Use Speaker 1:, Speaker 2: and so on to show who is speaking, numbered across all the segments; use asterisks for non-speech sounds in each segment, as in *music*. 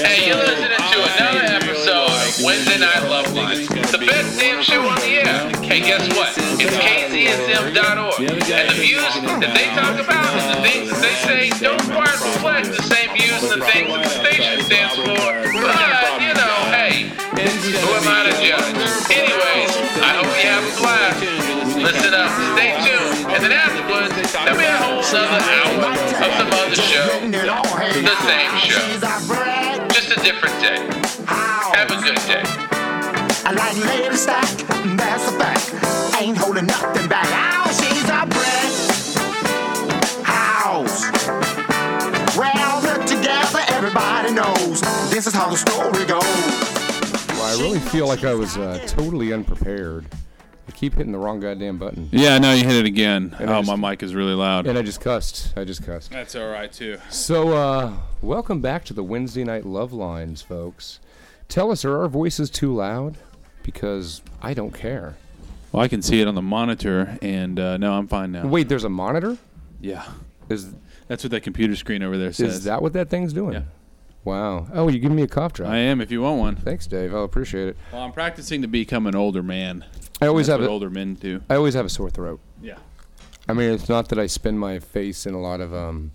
Speaker 1: Hey, you're listening to another episode of Wednesday Night Love Line, the best damn show on the air. Hey, guess what? It's kcsm.org. And the views that they talk about and the things that they say don't quite reflect the same views and the things that the station stands for. But, you know, hey, who am I to judge? Anyways, I hope you have a blast. Listen up, stay tuned, and then afterwards, there'll be a whole nother hour of some other show. The same show. Just a different day. Have a good day.
Speaker 2: I like lady stack, that's a fact. Ain't holding nothing back. Ow, she's a brick house. Well, look together, everybody knows this is how the story goes.
Speaker 3: Well, I really feel like I was uh, totally unprepared. I keep hitting the wrong goddamn button.
Speaker 4: Yeah, no, you hit it again.
Speaker 3: I
Speaker 4: oh,
Speaker 3: just-
Speaker 4: my mic is really loud.
Speaker 3: And I just cussed. I just cussed.
Speaker 4: That's all right too.
Speaker 3: So, uh, welcome back to the Wednesday Night Love Lines, folks. Tell us, are our voices too loud? Because I don't care.
Speaker 4: Well, I can see it on the monitor, and uh, no, I'm fine now.
Speaker 3: Wait, there's a monitor?
Speaker 4: Yeah,
Speaker 3: Is
Speaker 4: that's what that computer screen over there says.
Speaker 3: is that what that thing's doing?
Speaker 4: Yeah.
Speaker 3: Wow. Oh, you give me a cough drop.
Speaker 4: I am. If you want one.
Speaker 3: Thanks, Dave. I'll appreciate it.
Speaker 4: Well, I'm practicing to become an older man.
Speaker 3: I always
Speaker 4: That's
Speaker 3: have
Speaker 4: what
Speaker 3: a,
Speaker 4: older men do.
Speaker 3: I always have a sore throat.
Speaker 4: Yeah.
Speaker 3: I mean, it's not that I spend my face in a lot of um,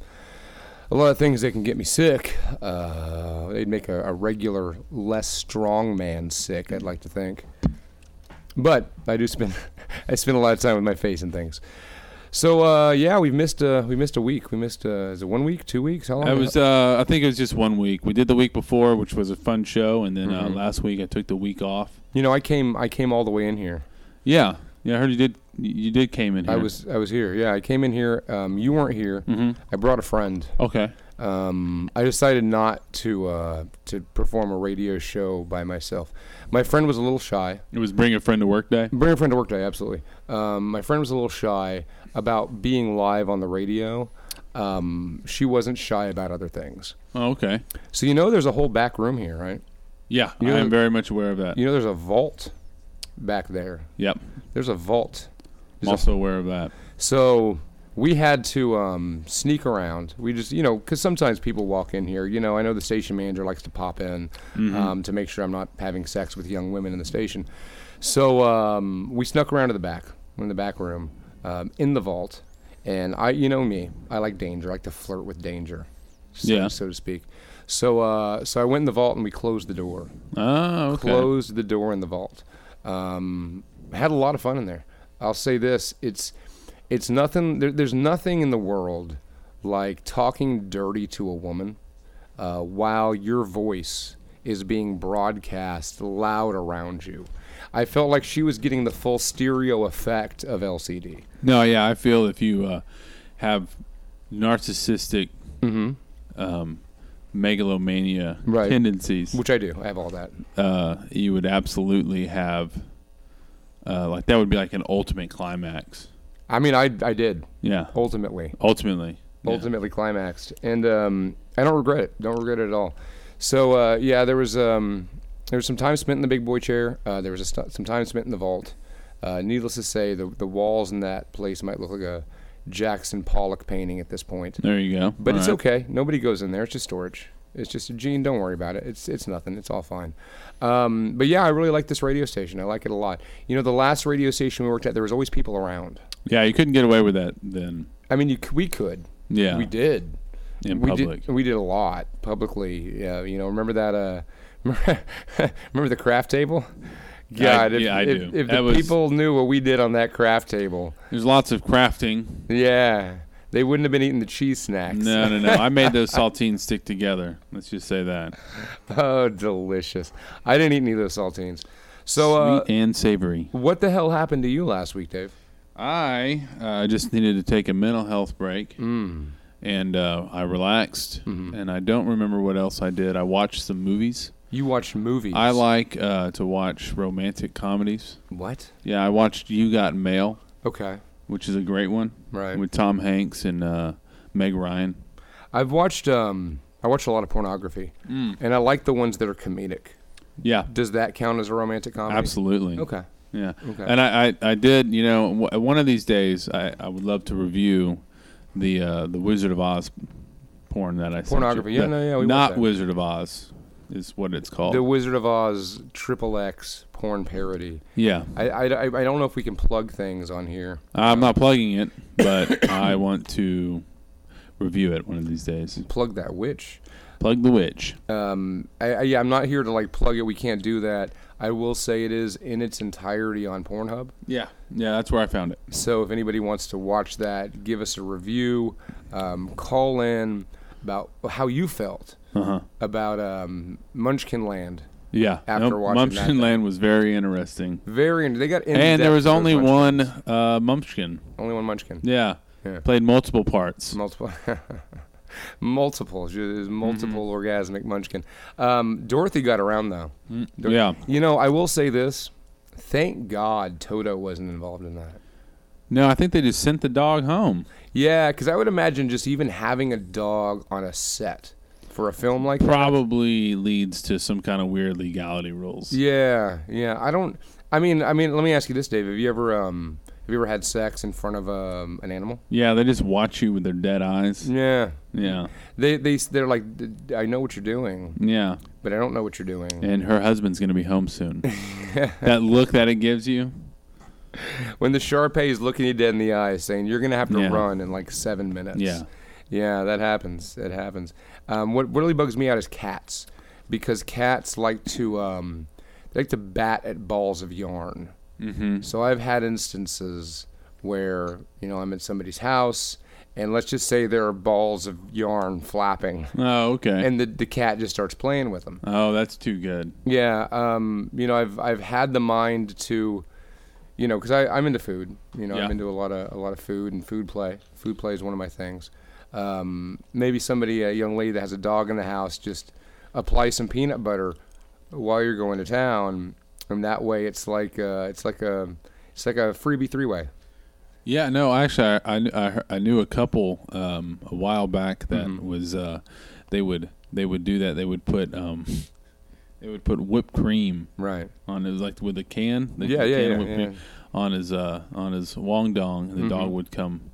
Speaker 3: a lot of things that can get me sick. Uh, they'd make a, a regular, less strong man sick. I'd like to think, but I do spend *laughs* I spend a lot of time with my face and things. So uh, yeah, we've missed uh, we missed a week. We missed uh, is it one week, two weeks? How long?
Speaker 4: I was. Uh, I think it was just one week. We did the week before, which was a fun show, and then uh,
Speaker 3: Mm-hmm.
Speaker 4: last week I took the week off.
Speaker 3: you know, I came I came all the way in here.
Speaker 4: Yeah. Yeah, I heard you did. You did came in here.
Speaker 3: I was I was here. Yeah, I came in here. Um, you weren't here.
Speaker 4: Mm-hmm.
Speaker 3: I brought a friend.
Speaker 4: Okay.
Speaker 3: um, I decided not to uh, to perform a radio show by myself. My friend was a little shy.
Speaker 4: It was bring a friend to work day.
Speaker 3: Bring a friend to work day, absolutely. Um, my friend was a little shy about being live on the radio. Um, she wasn't shy about other things.
Speaker 4: Oh, okay.
Speaker 3: So you know, there's a whole back room here, right?
Speaker 4: Yeah,
Speaker 3: You know-
Speaker 4: I am very much aware of that.
Speaker 3: You know, there's a vault back there.
Speaker 4: yep.
Speaker 3: There's a vault.
Speaker 4: I'm
Speaker 3: There's a-
Speaker 4: also aware of that.
Speaker 3: So we had to um, sneak around. We just, you know, because sometimes people walk in here. You know, I know the station manager likes to pop in um, to make sure I'm not having sex with young women in the station. So um, we snuck around to the back, in the back room, um, in the vault. And I, you know me, I like danger. I like to flirt with danger, so,
Speaker 4: Yeah.
Speaker 3: so to speak. So, uh, so I went in the vault and we closed the door
Speaker 4: Oh, okay.
Speaker 3: closed the door in the vault. Um, had a lot of fun in there. I'll say this: it's it's nothing. There, there's nothing in the world like talking dirty to a woman uh, while your voice is being broadcast loud around you. I felt like she was getting the full stereo effect of LCD.
Speaker 4: No, yeah, I feel if you uh, have narcissistic um, megalomania
Speaker 3: Mm-hmm. Right.
Speaker 4: tendencies,
Speaker 3: Which I do. I have all that.
Speaker 4: uh, you would absolutely have uh, like that would be like an ultimate climax.
Speaker 3: I mean, I I did
Speaker 4: Yeah,
Speaker 3: ultimately.
Speaker 4: ultimately. Yeah.
Speaker 3: ultimately climaxed, and um, I don't regret it. Don't regret it at all. So uh, yeah, there was um, there was some time spent in the big boy chair. Uh, there was a st- some time spent in the vault. Uh, needless to say, the the walls in that place might look like a Jackson Pollock painting at this point.
Speaker 4: There you go.
Speaker 3: But
Speaker 4: All
Speaker 3: it's
Speaker 4: right.
Speaker 3: okay. Nobody goes in there. It's just storage. It's just Gene. Don't worry about it. It's it's nothing. It's all fine. Um, but yeah, I really like this radio station. I like it a lot. You know, the last radio station we worked at, there was always people around.
Speaker 4: Yeah, you couldn't get away with that then.
Speaker 3: I mean, you, c- we could.
Speaker 4: Yeah.
Speaker 3: We did.
Speaker 4: In
Speaker 3: we
Speaker 4: public.
Speaker 3: Did, we did a lot publicly. Yeah, you know, remember that? Uh, *laughs* remember the craft table? God, if,
Speaker 4: yeah, I
Speaker 3: if,
Speaker 4: do.
Speaker 3: if
Speaker 4: That
Speaker 3: the
Speaker 4: was-
Speaker 3: people knew what we did on that craft table,
Speaker 4: There's lots of crafting.
Speaker 3: yeah, they wouldn't have been eating the cheese snacks.
Speaker 4: No, no, no. I made *laughs* those saltines stick together. Let's just say that.
Speaker 3: *laughs* oh, delicious. I didn't eat any of those saltines. So, uh,
Speaker 4: Sweet and savory.
Speaker 3: what the hell happened to you last week, Dave?
Speaker 4: I uh, just needed to take a mental health break, and uh, I relaxed. And I don't remember what else I did. I watched some movies.
Speaker 3: You watched movies.
Speaker 4: I like uh, to watch romantic comedies.
Speaker 3: what?
Speaker 4: Yeah, I watched You Got Mail,
Speaker 3: Okay,
Speaker 4: which is a great one,
Speaker 3: Right.
Speaker 4: With Tom Hanks and uh, Meg Ryan.
Speaker 3: I've watched um, I watched a lot of pornography,
Speaker 4: Mm.
Speaker 3: and I like the ones that are comedic.
Speaker 4: Yeah,
Speaker 3: Does that count as a romantic comedy?
Speaker 4: absolutely.
Speaker 3: Okay.
Speaker 4: Yeah.
Speaker 3: Okay.
Speaker 4: And I, I, I did, you know, w- one of these days, I, I would love to review the uh, the Wizard of Oz porn that I sent you.
Speaker 3: Pornography. Yeah,
Speaker 4: The-
Speaker 3: no, yeah, we want
Speaker 4: Not
Speaker 3: that.
Speaker 4: Wizard of Oz. is what it's called.
Speaker 3: The Wizard of Oz Triple X porn parody.
Speaker 4: yeah,
Speaker 3: I, I, I I don't know if we can plug things on here.
Speaker 4: I'm not plugging it, but *coughs* I want to review it one of these days.
Speaker 3: Plug that witch.
Speaker 4: Plug the witch.
Speaker 3: Um, I, I, yeah, I'm not here to like plug it. We can't do that. I will say it is in its entirety on Pornhub.
Speaker 4: Yeah, yeah, that's where I found it.
Speaker 3: So if anybody wants to watch that, give us a review, um, call in about how you felt about um, Munchkin Land.
Speaker 4: Yeah,
Speaker 3: After watching that
Speaker 4: Mumpkin
Speaker 3: thing.
Speaker 4: Land was very interesting,
Speaker 3: Very, in- they got in
Speaker 4: and there
Speaker 3: depth
Speaker 4: was
Speaker 3: with
Speaker 4: only
Speaker 3: Munchkin.
Speaker 4: one uh, Mumpkin.
Speaker 3: only one Munchkin.
Speaker 4: Yeah.
Speaker 3: Yeah.
Speaker 4: played multiple parts.
Speaker 3: Multiple. *laughs* Multiple, she was multiple orgasmic munchkin. Um, Dorothy got around though. Dor-
Speaker 4: yeah.
Speaker 3: you know I will say this: thank God Toto wasn't involved in that.
Speaker 4: No, I think they just sent the dog home.
Speaker 3: Yeah, because I would imagine just even having a dog on a set for a film like that.
Speaker 4: Probably leads to some kind of weird legality rules.
Speaker 3: Yeah, yeah. I don't. I mean, I mean. Let me ask you this, Dave: Have you ever, um, have you ever had sex in front of um, an animal?
Speaker 4: Yeah, they just watch you with their dead eyes.
Speaker 3: Yeah.
Speaker 4: Yeah,
Speaker 3: They they they're like, "D- d- I know what you're doing,
Speaker 4: yeah.
Speaker 3: but I don't know what you're doing.
Speaker 4: And her husband's gonna be home soon. that look that it gives you.
Speaker 3: When the Sharpay is looking you dead in the eye, saying you're gonna have to
Speaker 4: Yeah.
Speaker 3: run in like seven minutes.
Speaker 4: Yeah.
Speaker 3: Yeah, that happens. It happens. Um, what what really bugs me out is cats, because cats like to um, they like to bat at balls of yarn. Mm-hmm. So I've had instances where you know I'm at somebody's house, and let's just say there are balls of yarn flapping,
Speaker 4: Oh, okay.
Speaker 3: and the the cat just starts playing with them.
Speaker 4: oh, that's too good.
Speaker 3: Yeah, um, you know, I've I've had the mind to, you know, because I'm into food. You know,
Speaker 4: Yeah.
Speaker 3: I'm into a lot of a lot of food and food play. Food play is one of my things. Um, maybe somebody, a young lady that has a dog in the house, just apply some peanut butter while you're going to town, and that way it's like uh, it's like a it's like a freebie three way.
Speaker 4: Yeah, no, actually, I I, kn- I, hear- I knew a couple um, a while back that was uh, they would they would do that. They would put um, they would put whipped cream
Speaker 3: Right.
Speaker 4: on his like with a can. The
Speaker 3: Yeah,
Speaker 4: the
Speaker 3: yeah,
Speaker 4: can of
Speaker 3: yeah,
Speaker 4: whipped cream
Speaker 3: yeah. Mm-hmm.
Speaker 4: On his uh, on his wong dong, and the dog would come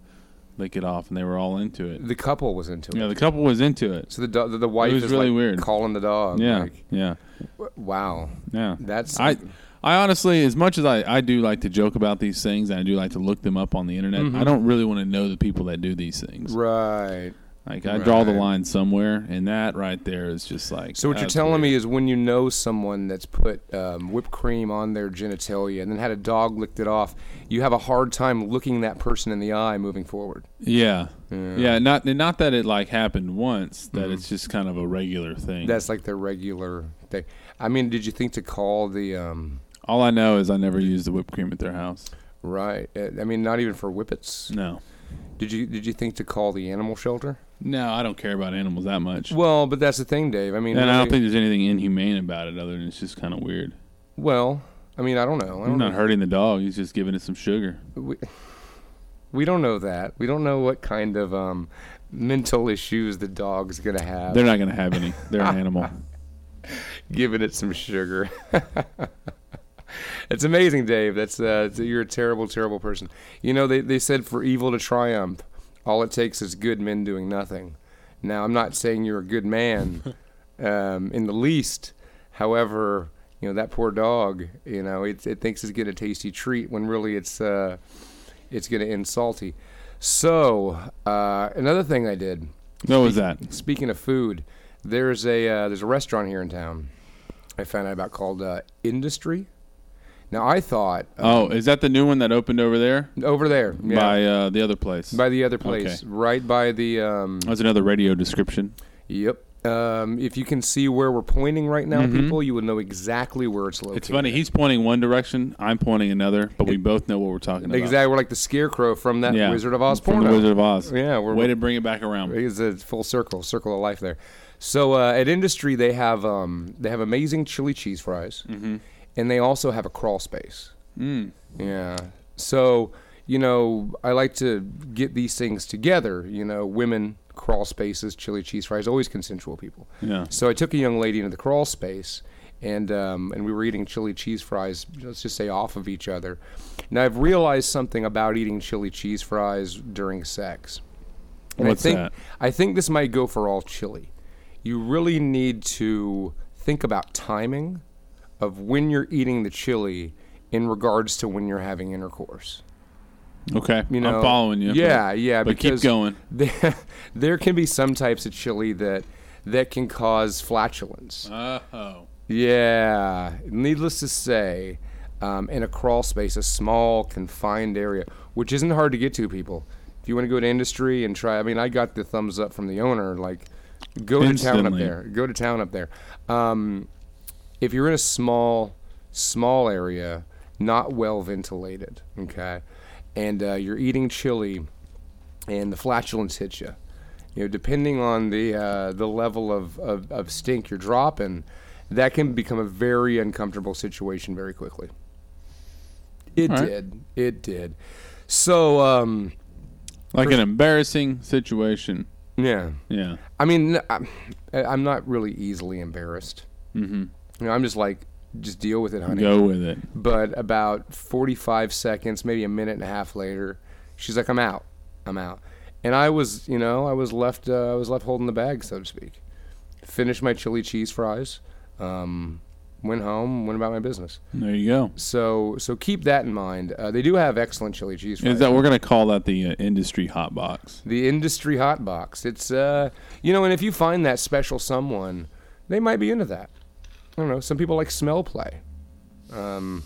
Speaker 4: lick it off, and they were all into it.
Speaker 3: The couple was into it.
Speaker 4: Yeah, the couple was into it.
Speaker 3: So the do- the, the wife
Speaker 4: was
Speaker 3: is
Speaker 4: really
Speaker 3: like
Speaker 4: weird.
Speaker 3: calling the dog.
Speaker 4: Yeah,
Speaker 3: Like,
Speaker 4: yeah,
Speaker 3: w- wow.
Speaker 4: yeah.
Speaker 3: That's
Speaker 4: I I honestly, as much as I, I do like to joke about these things, and I do like to look them up on the internet. I don't really want to know the people that do these things.
Speaker 3: Mm-hmm. right.
Speaker 4: Like I draw the
Speaker 3: Right.
Speaker 4: line somewhere, and that right there is just like. uh,
Speaker 3: So what you're telling me is when you know someone that's put um, whipped cream on their genitalia and then had a dog licked it off, you have a hard time looking that person in the eye moving forward.
Speaker 4: Yeah. yeah, Not and not that it like happened once. That
Speaker 3: Mm-hmm.
Speaker 4: it's just kind of a regular thing.
Speaker 3: That's like their regular thing. I mean, did you think to call the um,
Speaker 4: all I know is I never used the whipped cream at their house.
Speaker 3: right? uh, I mean, not even for whippets.
Speaker 4: No,
Speaker 3: Did you did you think to call the animal shelter?
Speaker 4: no, I don't care about animals that much,
Speaker 3: Well, but that's the thing, Dave. I mean,
Speaker 4: and I don't
Speaker 3: really-
Speaker 4: think there's anything inhumane about it other than it's just kind of weird.
Speaker 3: well, I mean, I don't know. I
Speaker 4: You're
Speaker 3: don't
Speaker 4: not
Speaker 3: know.
Speaker 4: hurting the dog. He's just giving it some sugar.
Speaker 3: we, we don't know that. We don't know what kind of um, mental issues the dog's gonna have.
Speaker 4: They're not gonna have any. They're an *laughs* animal.
Speaker 3: giving it some sugar. *laughs* it's amazing, Dave. That's uh, it's- you're a terrible, terrible person. You know, they, they said for evil to triumph, all it takes is good men doing nothing. Now, I'm not saying you're a good man um, in the least. However, you know that poor dog. You know, it, it thinks it's getting a tasty treat when really it's uh, it's going to end salty. So uh, another thing I did.
Speaker 4: What was that?
Speaker 3: Speaking of food, there's a uh, there's a restaurant here in town. I found out about called uh, Industry. Now I thought uh,
Speaker 4: Oh, is that the new one that opened over there
Speaker 3: over there yeah,
Speaker 4: by uh, the other place?
Speaker 3: by the other place,
Speaker 4: Okay.
Speaker 3: right by the um,
Speaker 4: That's another radio description.
Speaker 3: yep. Um, if you can see where we're pointing right now, people, you would know exactly where it's
Speaker 4: Mm-hmm.
Speaker 3: located.
Speaker 4: It's funny. He's pointing one direction. I'm pointing another, but we both know what we're talking about.
Speaker 3: Exactly, we're like the scarecrow from that
Speaker 4: Yeah.
Speaker 3: Wizard of Oz
Speaker 4: From
Speaker 3: porno.
Speaker 4: the Wizard of Oz.
Speaker 3: Yeah, we're-
Speaker 4: way to bring it back around.
Speaker 3: It's a full circle, circle of life there. So uh, at industry, they have um, they have amazing chili cheese fries, and they also have a crawl space. Mm. Yeah. So you know, I like to get these things together. You know, women crawl spaces, chili cheese fries, always consensual people.
Speaker 4: Yeah.
Speaker 3: So I took a young lady into the crawl space, and um, and we were eating chili cheese fries. Let's just say off of each other. Now I've realized something about eating chili cheese fries during sex. And
Speaker 4: What's
Speaker 3: I think
Speaker 4: that?
Speaker 3: I think this might go for all chili. You really need to think about timing of when you're eating the chili in regards to when you're having intercourse.
Speaker 1: Okay,
Speaker 3: You know,
Speaker 1: I'm following you.
Speaker 3: Yeah,
Speaker 1: but-
Speaker 3: yeah.
Speaker 1: But keep
Speaker 3: because
Speaker 1: going.
Speaker 3: *laughs* There, there can be some types of chili that that can cause flatulence.
Speaker 1: Oh,
Speaker 3: Yeah. Needless to say, um, in a crawl space, a small confined area, which isn't hard to get to, people. If you want to go to industry and try, I mean, I got the thumbs up from the owner. Like, go to town up
Speaker 1: Instantly.
Speaker 3: there. Go to town up there. Um, if you're in a small, small area, not well ventilated, okay, and uh, you're eating chili, and the flatulence hits you. You know, depending on the uh, the level of, of, of stink you're dropping, that can become a very uncomfortable situation very quickly. It
Speaker 1: All right.
Speaker 3: did. It did. So, um,
Speaker 1: like an embarrassing situation.
Speaker 3: yeah.
Speaker 1: Yeah.
Speaker 3: I mean, n- I'm, I'm not really easily embarrassed. Mm-hmm. You know, I'm just like, just deal with it, honey.
Speaker 1: Go with it.
Speaker 3: But about 45 seconds, maybe a minute and a half later, she's like, "I'm out, I'm out," and I was, you know, I was left, uh, I was left holding the bag, so to speak. Finished my chili cheese fries, um, went home, went about my business.
Speaker 1: There you go.
Speaker 3: So, so keep that in mind. Uh, they do have excellent chili cheese fries.
Speaker 1: Is that we're gonna call that the uh, industry hot box?
Speaker 3: The industry hot box. It's uh, you know, and if you find that special someone, they might be into that. I don't know. Some people like smell play. Um,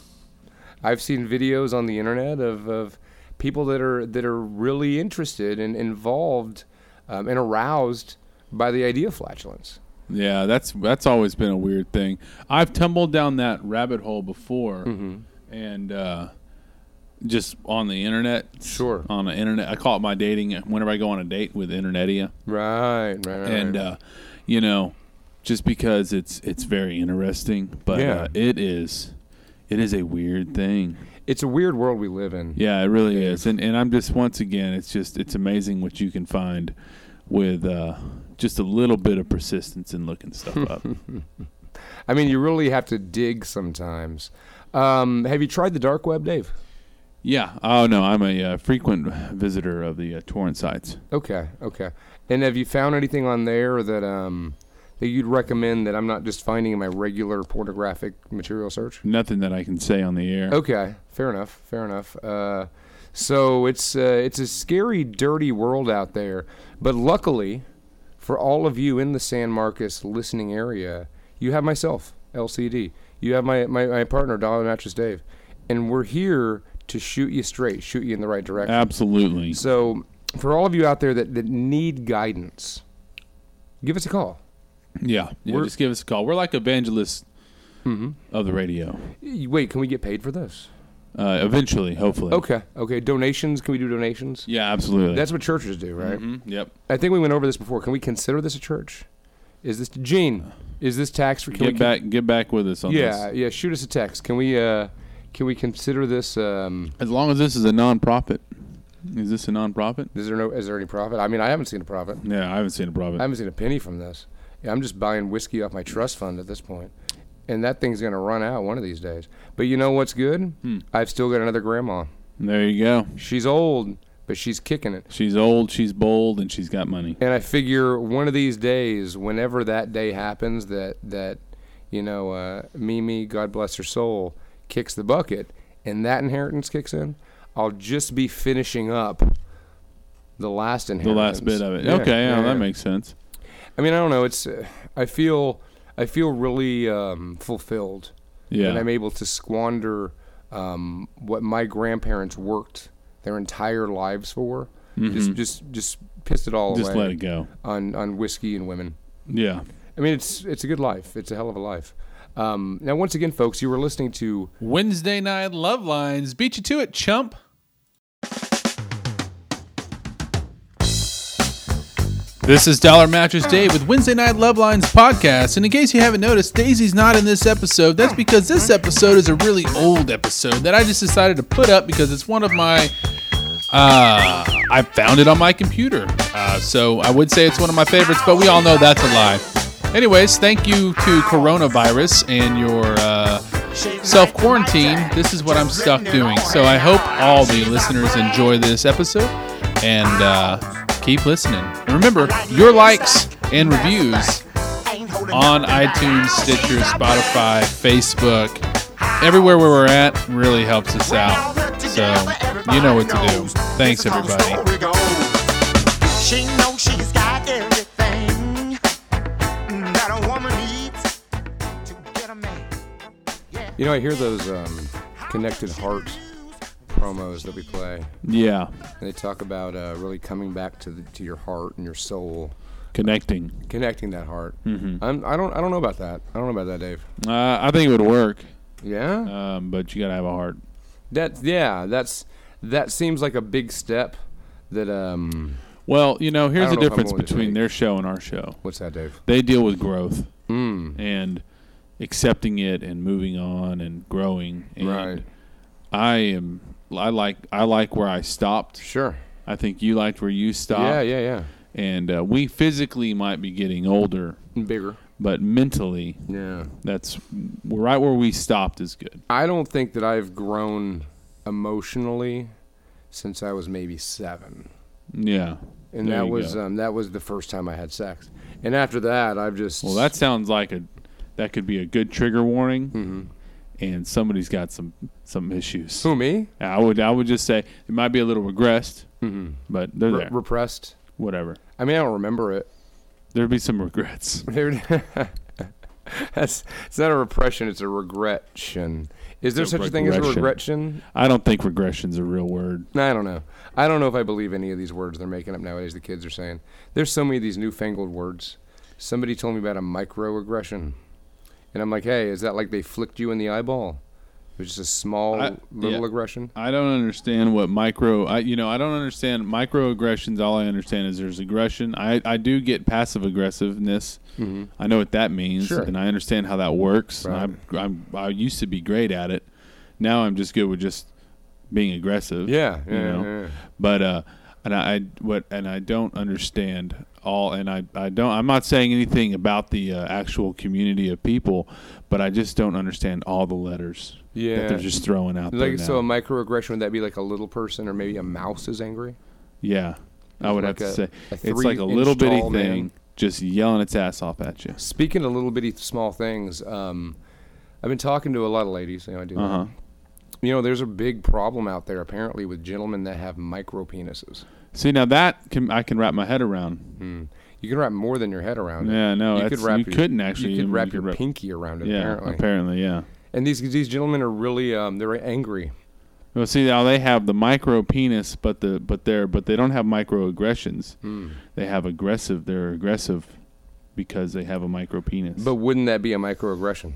Speaker 3: I've seen videos on the internet of, of people that are that are really interested and involved um, and aroused by the idea of flatulence.
Speaker 1: Yeah, that's that's always been a weird thing. I've tumbled down that rabbit hole before, and uh, just on the internet.
Speaker 3: Sure.
Speaker 1: On the internet, I call it my dating. uh, Whenever I go on a date with internetia,
Speaker 3: Right, right, right.
Speaker 1: and uh, you know, just because it's it's very interesting, but
Speaker 3: Yeah.
Speaker 1: uh, it is it is a weird thing.
Speaker 3: it's a weird world we live in.
Speaker 1: uh, Yeah, it really is. And and I'm just once again, it's just it's amazing what you can find with uh, just a little bit of persistence in looking
Speaker 3: *laughs*
Speaker 1: stuff up.
Speaker 3: I mean, you really have to dig sometimes. Um, have you tried the dark web, Dave?
Speaker 1: yeah. Oh no, I'm a uh, frequent visitor of the uh, torrent sites.
Speaker 3: Okay, okay. And have you found anything on there that um that you'd recommend that I'm not just finding in my regular pornographic material search?
Speaker 1: Nothing that I can say on the air.
Speaker 3: Okay, fair enough, fair enough. Uh, so it's uh, it's a scary, dirty world out there, but luckily for all of you in the San Marcos listening area, you have myself, LCD. You have my my, my partner, Dollar Mattress Dave, and we're here to shoot you straight, shoot you in the right direction.
Speaker 1: Absolutely.
Speaker 3: So, for all of you out there that, that need guidance, give us a call.
Speaker 1: Yeah. yeah
Speaker 3: We're- Mm-hmm.
Speaker 1: just give us a call. We're like evangelists of the radio.
Speaker 3: Y- Wait, can we get paid for this?
Speaker 1: Uh, eventually, hopefully.
Speaker 3: Okay, okay. Donations? Can we do donations?
Speaker 1: Yeah, absolutely.
Speaker 3: That's what churches do, right?
Speaker 1: Mhm, Yep.
Speaker 3: I think we went over this before. Can we consider this a church? Is this Gene? Is this tax? Can we
Speaker 1: get
Speaker 3: con-
Speaker 1: back. Get back with us on
Speaker 3: Yeah,
Speaker 1: this.
Speaker 3: yeah. Shoot us a text. Can we? Uh, can we consider this? Um,
Speaker 1: As long as this is a non-profit. Is this a non-profit?
Speaker 3: is there no? Is there any profit? I mean, I haven't seen a profit.
Speaker 1: Yeah, I haven't seen a profit.
Speaker 3: I haven't seen a penny from this. Yeah, I'm just buying whiskey off my trust fund at this point. And that thing's going to run out one of these days. But you know what's good?
Speaker 1: Hmm.
Speaker 3: I've still got another grandma.
Speaker 1: there you go.
Speaker 3: She's old, but she's kicking it.
Speaker 1: She's old, she's bold, and she's got money.
Speaker 3: And I figure one of these days, whenever that day happens, that, that you know, uh, Mimi, God bless her soul, kicks the bucket and that inheritance kicks in, I'll just be finishing up the last
Speaker 1: The
Speaker 3: inheritance.
Speaker 1: last bit of it.
Speaker 3: Yeah,
Speaker 1: okay, yeah,
Speaker 3: yeah,
Speaker 1: that
Speaker 3: yeah.
Speaker 1: makes sense.
Speaker 3: I mean, I don't know. It's uh, I feel I feel really um, fulfilled
Speaker 1: Yeah.
Speaker 3: that I'm able to squander um, what my grandparents worked their entire lives for. Just just just pissed it all
Speaker 1: Mm-hmm. Just
Speaker 3: away
Speaker 1: let it go.
Speaker 3: on on whiskey and women.
Speaker 1: Yeah.
Speaker 3: I mean, it's it's a good life. It's a hell of a life. Um, now, once again, folks, you were listening to
Speaker 1: Wednesday night love lines. Beat you to it, chump. This is Dollar Mattress Dave with Wednesday Night Love Lines podcast. And in case you haven't noticed, Daisy's not in this episode. That's because this episode is a really old episode that I just decided to put up because it's one of my. Uh, I found it on my computer. Uh, so I would say it's one of my favorites, but we all know that's a lie. Anyways, thank you to coronavirus and your uh, self quarantine. This is what I'm stuck doing. So I hope all the listeners enjoy this episode and uh, keep listening. And remember, your likes and reviews on iTunes, Stitcher, Spotify, Facebook, everywhere where we're at really helps us out. So you know what to do. Thanks everybody.
Speaker 2: She knows she's got everything that a woman needs to get a man.
Speaker 3: You know, I hear those um, connected heart promos that we play.
Speaker 4: Yeah,
Speaker 3: And they talk about uh, really coming back to the, to your heart and your soul,
Speaker 4: connecting.
Speaker 3: connecting that heart. Mm-hmm. I'm, I don't I don't know about that. I don't know about that, Dave.
Speaker 4: Uh, I think it would work,
Speaker 3: Yeah.
Speaker 4: um, but you gotta have a heart.
Speaker 3: That yeah, that's that seems like a big step. That um,
Speaker 4: Well, you know, here's
Speaker 3: I
Speaker 4: the
Speaker 3: don't know if I'm
Speaker 4: difference
Speaker 3: willing to
Speaker 4: between
Speaker 3: take-
Speaker 4: their show and our show.
Speaker 3: what's that, Dave?
Speaker 4: They deal with growth
Speaker 3: Hmm.
Speaker 4: and accepting it and moving on and growing. And
Speaker 3: Right.
Speaker 4: I am. I like. I like where I stopped.
Speaker 3: Sure.
Speaker 4: I think you liked where you stopped.
Speaker 3: Yeah, yeah,
Speaker 4: And uh, we physically might be getting older,
Speaker 3: yeah. Bigger.
Speaker 4: but mentally,
Speaker 3: Yeah.
Speaker 4: that's right where we stopped is good.
Speaker 3: I don't think that I've grown emotionally since I was maybe seven,
Speaker 4: Yeah.
Speaker 3: and
Speaker 4: There
Speaker 3: that
Speaker 4: you
Speaker 3: was
Speaker 4: go.
Speaker 3: um, that was the first time I had sex. And after that, I've just
Speaker 4: Well, that sounds like a that could be a good trigger warning,
Speaker 3: Mm-hmm.
Speaker 4: and somebody's got some some issues.
Speaker 3: who me
Speaker 4: I would I would just say it might be a little regressed, but they're
Speaker 3: Re-
Speaker 4: there.
Speaker 3: repressed.
Speaker 4: Whatever.
Speaker 3: I mean, I don't remember it.
Speaker 4: There'd be some regrets.
Speaker 3: *laughs* That's it's not a repression; it's a regression. Is there
Speaker 4: It's a
Speaker 3: such a thing as a
Speaker 4: regression.
Speaker 3: regression?
Speaker 4: I don't think regression's a real word.
Speaker 3: I don't know. I don't know if I believe any of these words they're making up nowadays. The kids are saying there's so many of these newfangled words. Somebody told me about a microaggression, and I'm like, hey, is that like they flicked you in the eyeball? It was just a small
Speaker 4: I-
Speaker 3: little
Speaker 4: yeah.
Speaker 3: aggression.
Speaker 4: I don't understand what micro. I you know I don't understand microaggressions. All I understand is there's aggression. I I do get passive aggressiveness. I know what that means,
Speaker 3: Sure.
Speaker 4: and I understand how that works.
Speaker 3: Right.
Speaker 4: I'm, I'm I used to be great at it. Now I'm just good with just being aggressive.
Speaker 3: Yeah,
Speaker 4: you
Speaker 3: yeah,
Speaker 4: know?
Speaker 3: yeah.
Speaker 4: But uh, and I, I what and I don't understand all, and I I don't. I'm not saying anything about the uh, actual community of people, but I just don't understand all the letters.
Speaker 3: Yeah.
Speaker 4: that they're just throwing out there
Speaker 3: Like
Speaker 4: now.
Speaker 3: so, a microaggression would that be like a little person or maybe a mouse is angry?
Speaker 4: Yeah, I would
Speaker 3: like
Speaker 4: have
Speaker 3: a-
Speaker 4: to say
Speaker 3: a
Speaker 4: it's like a
Speaker 3: three-inch
Speaker 4: little bitty
Speaker 3: tall man.
Speaker 4: thing just yelling its ass off at you.
Speaker 3: Speaking of little bitty small things, um, I've been talking to a lot of ladies. You know, I do. that.
Speaker 4: Uh-huh.
Speaker 3: You know, there's a big problem out there apparently with gentlemen that have micro penises.
Speaker 4: See, now that can I can wrap my head around.
Speaker 3: You can wrap more than your head around it.
Speaker 4: Yeah, no,
Speaker 3: you
Speaker 4: that's-
Speaker 3: could wrap
Speaker 4: you
Speaker 3: your,
Speaker 4: couldn't actually,
Speaker 3: You
Speaker 4: you
Speaker 3: could wrap
Speaker 4: could
Speaker 3: your
Speaker 4: wrap-
Speaker 3: pinky around it.
Speaker 4: Yeah,
Speaker 3: apparently.
Speaker 4: apparently, yeah.
Speaker 3: and these these gentlemen are really um, they're angry.
Speaker 4: Well, see now they have the micro penis, but the but they're but they don't have microaggressions. They have aggressive. They're aggressive because they have a micro penis.
Speaker 3: But wouldn't that be a microaggression?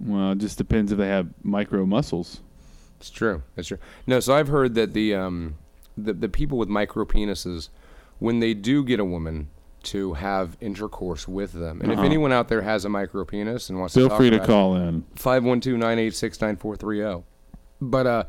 Speaker 4: well, it just depends if they have micro muscles.
Speaker 3: It's true. It's true. No, so I've heard that the um, the the people with micro penises, when they do get a woman to have intercourse with them, and if anyone out there has a micro penis and wants to
Speaker 4: Uh-huh. Feel
Speaker 3: talk
Speaker 4: free to
Speaker 3: about it,
Speaker 4: call in.
Speaker 3: 512-986-9430. oh. But uh,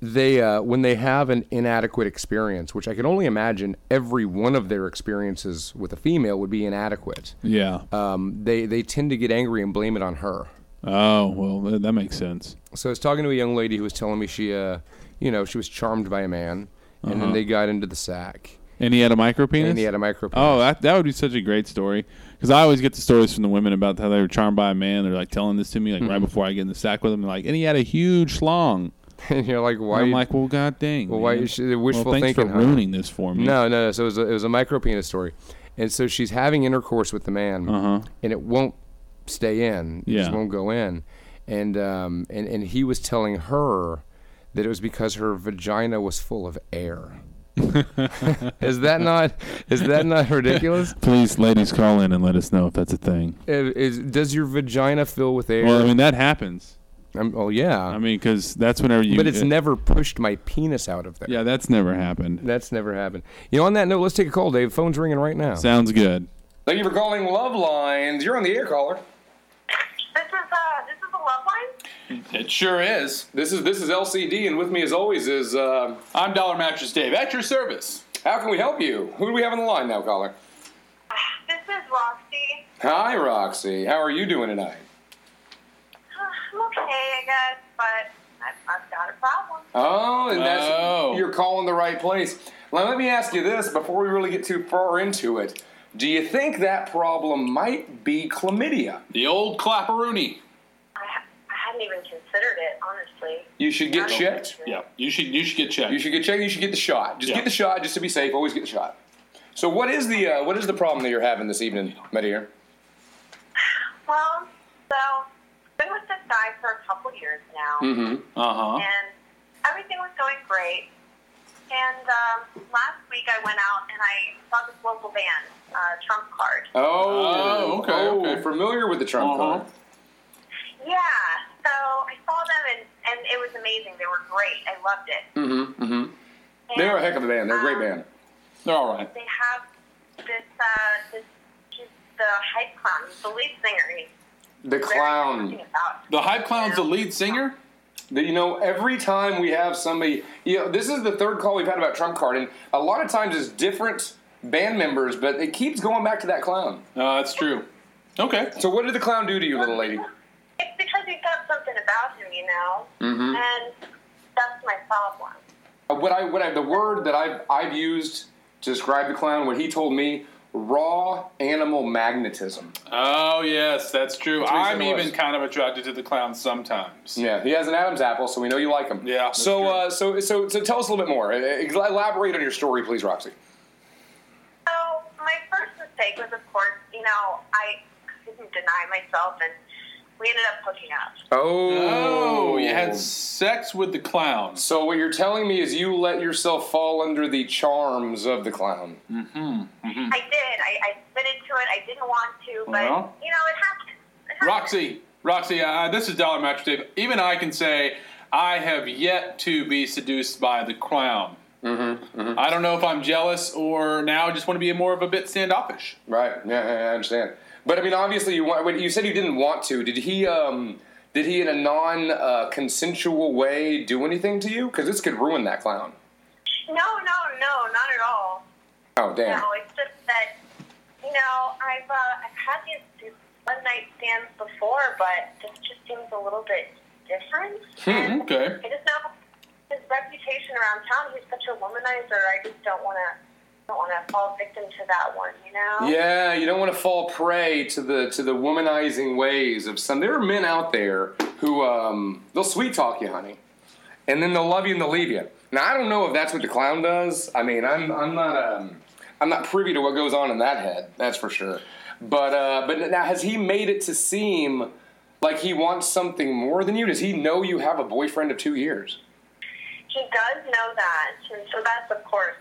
Speaker 3: they uh, when they have an inadequate experience, which I can only imagine every one of their experiences with a female would be inadequate.
Speaker 4: Yeah.
Speaker 3: Um, they they tend to get angry and blame it on her.
Speaker 4: oh well, th- that makes sense.
Speaker 3: So I was talking to a young lady who was telling me she uh, you know, she was charmed by a man, and then they got into the sack,
Speaker 4: And he had a micro Uh-huh. penis.
Speaker 3: and he had a micro.
Speaker 4: Oh, that, that would be such a great story. Because I always get the stories from the women about how they were charmed by a man. They're like telling this to me like right
Speaker 3: Hmm.
Speaker 4: before I get in the sack with him. They're like, and he had a huge schlong.
Speaker 3: *laughs* and you're like, why?
Speaker 4: I'm like, well, god dang.
Speaker 3: Well, why
Speaker 4: man.
Speaker 3: is she- the wishful
Speaker 4: well, thanks
Speaker 3: thinking,
Speaker 4: for
Speaker 3: huh?
Speaker 4: ruining this for me.
Speaker 3: No, no, no. So it was a, it was a micro penis story, and so she's having intercourse with the man, and it won't stay in. It just
Speaker 4: Uh-huh. Yeah.
Speaker 3: won't go in, and um, and and he was telling her that it was because her vagina was full of air. *laughs* is that not is that
Speaker 4: *laughs*
Speaker 3: not ridiculous?
Speaker 4: Please, ladies, call in and let us know if that's a thing.
Speaker 3: Is, is- does your vagina fill with air?
Speaker 4: Well, I mean that happens.
Speaker 3: I'm- well, yeah,
Speaker 4: I mean, because that's whenever you.
Speaker 3: but it's
Speaker 4: uh,
Speaker 3: never pushed my penis out of there.
Speaker 4: Yeah, that's never happened.
Speaker 3: That's never happened. You know, on that note, let's take a call, Dave. Phone's ringing right now.
Speaker 4: Sounds good.
Speaker 3: Thank you for calling Love Lines. You're on the air, caller.
Speaker 5: This is uh, this is a love line.
Speaker 6: It sure is.
Speaker 3: This is this is LCD, and with me as always is uh,
Speaker 6: I'm Dollar Mattress Dave at your service.
Speaker 3: how can we help you? Who do we have on the line now, caller?
Speaker 5: This is Roxy.
Speaker 3: Hi, Roxy. How are you doing tonight?
Speaker 5: *sighs* I'm okay, I guess, but I've, I've got a problem.
Speaker 3: Oh, and that's
Speaker 6: Oh.
Speaker 3: you're calling the right place. Now, let me ask you this before we really get too far into it. Do you think that problem might be chlamydia?
Speaker 1: The old clapperoonie.
Speaker 5: I, ha- I hadn't even considered it, honestly.
Speaker 3: You should get checked.
Speaker 1: Yeah, you should you should get checked.
Speaker 3: You should get checked. You should get the shot. Just
Speaker 1: Yeah.
Speaker 3: get the shot, just to be safe. Always get the shot. So, what is the uh, what is the problem that you're having this evening, Medir?
Speaker 5: Well, so I've been with this guy for a couple years now,
Speaker 3: Mm-hmm.
Speaker 1: uh huh.
Speaker 5: and everything was going great. And um, last week I went out and I saw this local band, uh, Trump Card.
Speaker 1: Oh,
Speaker 3: Oh,
Speaker 1: okay,
Speaker 3: oh,
Speaker 1: okay.
Speaker 3: Familiar with the Trump
Speaker 1: Uh-huh.
Speaker 3: card.
Speaker 5: Yeah, so I saw them and, and it was amazing. They were great. I loved it.
Speaker 3: Mm-hmm. Mm-hmm.
Speaker 5: And,
Speaker 3: They're a heck of a band. They're a great
Speaker 5: um,
Speaker 3: band.
Speaker 1: They're all right.
Speaker 5: They have this, uh, this, he's the hype clown, he's the lead singer. He's
Speaker 3: The
Speaker 5: very
Speaker 3: clown.
Speaker 5: something About.
Speaker 1: The hype clown's the lead singer.
Speaker 3: That, you know, every time we have somebody, you know, this is the third call we've had about Trump card, and a lot of times it's different band members, but it keeps going back to that clown.
Speaker 1: Uh, that's true. Okay.
Speaker 3: So, what did the clown do to you, little lady?
Speaker 5: It's because he's got something about him, you know?
Speaker 1: Mm-hmm.
Speaker 5: And that's my problem.
Speaker 3: Uh, What I, what I, the word that I've, I've used to describe the clown, what he told me, raw animal magnetism.
Speaker 1: Oh yes, that's true.
Speaker 3: what he said
Speaker 1: I'm
Speaker 3: it was.
Speaker 1: even kind of attracted to the clown sometimes.
Speaker 3: Yeah, he has an Adam's apple, so we know you like him.
Speaker 1: Yeah, that's
Speaker 3: So,
Speaker 1: true.
Speaker 3: uh, so, so, so, tell us a little bit more. Uh, uh, Elaborate on your story, please, Roxy.
Speaker 5: So my first mistake was, of course, you know, I couldn't deny myself, and we ended up hooking up.
Speaker 3: Oh,
Speaker 1: Oh, you had sex with the clown.
Speaker 3: So what you're telling me is you let yourself fall under the charms of the clown.
Speaker 1: Hmm.
Speaker 5: I did. I, I admitted to it. I didn't want to, but,
Speaker 1: Well.
Speaker 5: you know, it happened. It happened.
Speaker 1: Roxy, Roxy, uh, this is Dollar Match Dave. Even I can say I have yet to be seduced by the clown. I don't know if I'm jealous or now I just want to be more of a bit standoffish.
Speaker 3: Right. Yeah, yeah, I understand. But I mean, obviously, you want. Wait, you said you didn't want to. Did he? Um, did he, in a non-consensual way, do anything to you? Because this could ruin that clown.
Speaker 5: No, no, no, not at all.
Speaker 3: Oh damn.
Speaker 5: No, it's just that, you know, I've, uh, I've had these, these one night stands before, but this just seems a little bit different.
Speaker 3: Hmm,
Speaker 5: And
Speaker 1: okay.
Speaker 5: I just know his reputation around town. He's such a womanizer. I just don't want to don't want to fall victim to that one. You know.
Speaker 3: Yeah, you don't want to fall prey to the to the womanizing ways of some. There are men out there who um, they'll sweet talk you, honey, and then they'll love you and they'll leave you. Now I don't know if that's what the clown does. I mean, I'm I'm not um, I'm not privy to what goes on in that head. That's for sure. But uh, but now has he made it to seem like he wants something more than you? Does he know you have a boyfriend of two years?
Speaker 5: He does know that, and so that's of course.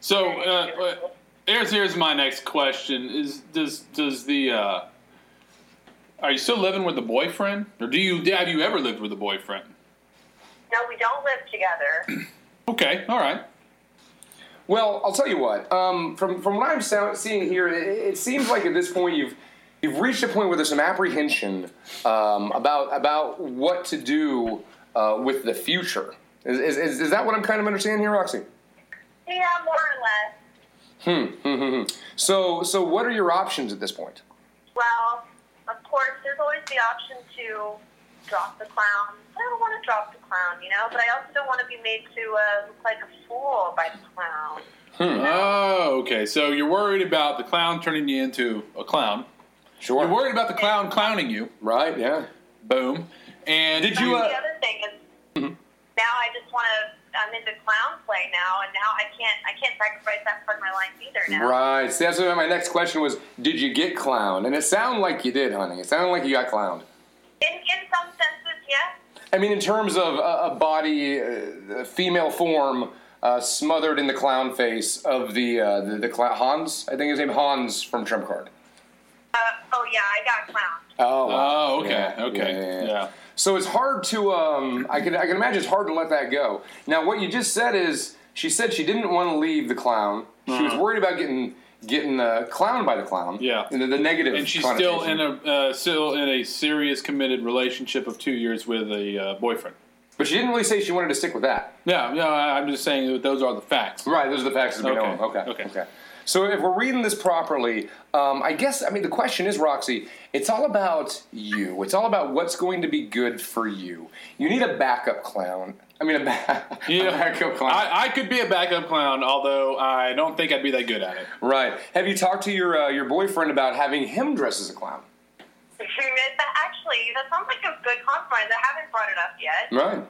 Speaker 1: So uh, uh, here's here's my next question: Is does does the uh, are you still living with a boyfriend, or do you have you ever lived with a boyfriend?
Speaker 5: No, we don't live together.
Speaker 1: Okay, all right.
Speaker 3: Well, I'll tell you what. Um, from from what I'm sou- seeing here, it, it seems like at this point you've you've reached a point where there's some apprehension um, about about what to do uh, with the future. Is, is, is, is that what I'm kind of understanding here, Roxy?
Speaker 5: yeah, more or less.
Speaker 3: Mm-hmm. So so what are your options at this point?
Speaker 5: Well, of course, there's always the option to drop the clown. I don't want to drop the clown, you know, but I also don't want to be made to uh, look like a fool by the clown.
Speaker 1: Oh, okay. So you're worried about the clown turning you into a clown.
Speaker 3: Sure.
Speaker 1: You're worried about the clown clowning you.
Speaker 3: Right. Yeah.
Speaker 1: Boom. And did you?
Speaker 5: the
Speaker 1: Uh, Mm-hmm.
Speaker 5: other thing is now I just want to. I'm into clown play now, and now I can't. I can't sacrifice that part of my life either now.
Speaker 3: Right. See, that's what my next question was. Did you get clowned? And it sounded like you did, honey. It sounded like you got clowned.
Speaker 5: In in some senses, yes.
Speaker 3: I mean, in terms of a, a body, uh, female form uh, smothered in the clown face of the uh, the, the clown Hans, I think his name Hans from Trump Card.
Speaker 5: Uh, oh yeah, I got clowned. *laughs*
Speaker 3: Oh,
Speaker 1: oh, okay, okay, yeah.
Speaker 3: So it's hard to um, I can I can imagine it's hard to let that go. Now, what you just said is she said she didn't want to leave the clown. She was worried about getting getting uh, clowned by the clown.
Speaker 1: Mm-hmm. Yeah.
Speaker 3: and the, the negative.
Speaker 1: And she's still
Speaker 3: connotation.
Speaker 1: in a uh, still in a serious committed relationship of two years with a uh, boyfriend.
Speaker 3: but she didn't really say she wanted to stick with that.
Speaker 1: Yeah, no, I- I'm just saying that those are the facts. *laughs*
Speaker 3: Right, those are the facts as we know
Speaker 1: Okay,
Speaker 3: them. Okay.
Speaker 1: okay.
Speaker 3: Okay. So if we're reading this properly, um, I guess I mean the question is, Roxy, it's all about you. It's all about what's going to be good for you. You need a backup clown. I mean, a, ba- *laughs* a backup clown.
Speaker 7: I, I could be a backup clown, although I don't think I'd be that good at it.
Speaker 3: right. Have you talked to your uh, your boyfriend about having him dress as a clown?
Speaker 5: That actually, that sounds like a good compromise. I haven't brought it up
Speaker 1: Mm.
Speaker 5: yet.
Speaker 3: Right.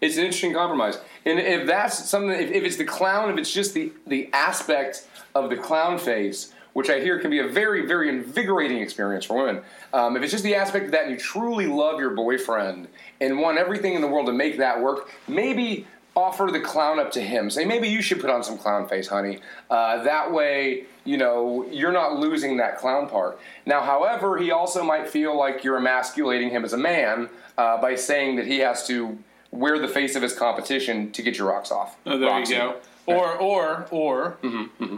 Speaker 3: It's an interesting compromise. And if that's something, if, if it's the clown, if it's just the, the aspect of the clown face, which I hear can be a very, very invigorating experience for women, um, if it's just the aspect of that and you truly love your boyfriend and want everything in the world to make that work, maybe offer the clown up to him. Say, maybe you should put on some clown face, honey. Uh, that way, you know, you're not losing that clown part. Now, however, he also might feel like you're emasculating him as a man uh, by saying that he has to wear the face of his competition to get your rocks off.
Speaker 7: Oh, there
Speaker 3: Roxy. Mm-hmm,
Speaker 7: you go. Or, or, or,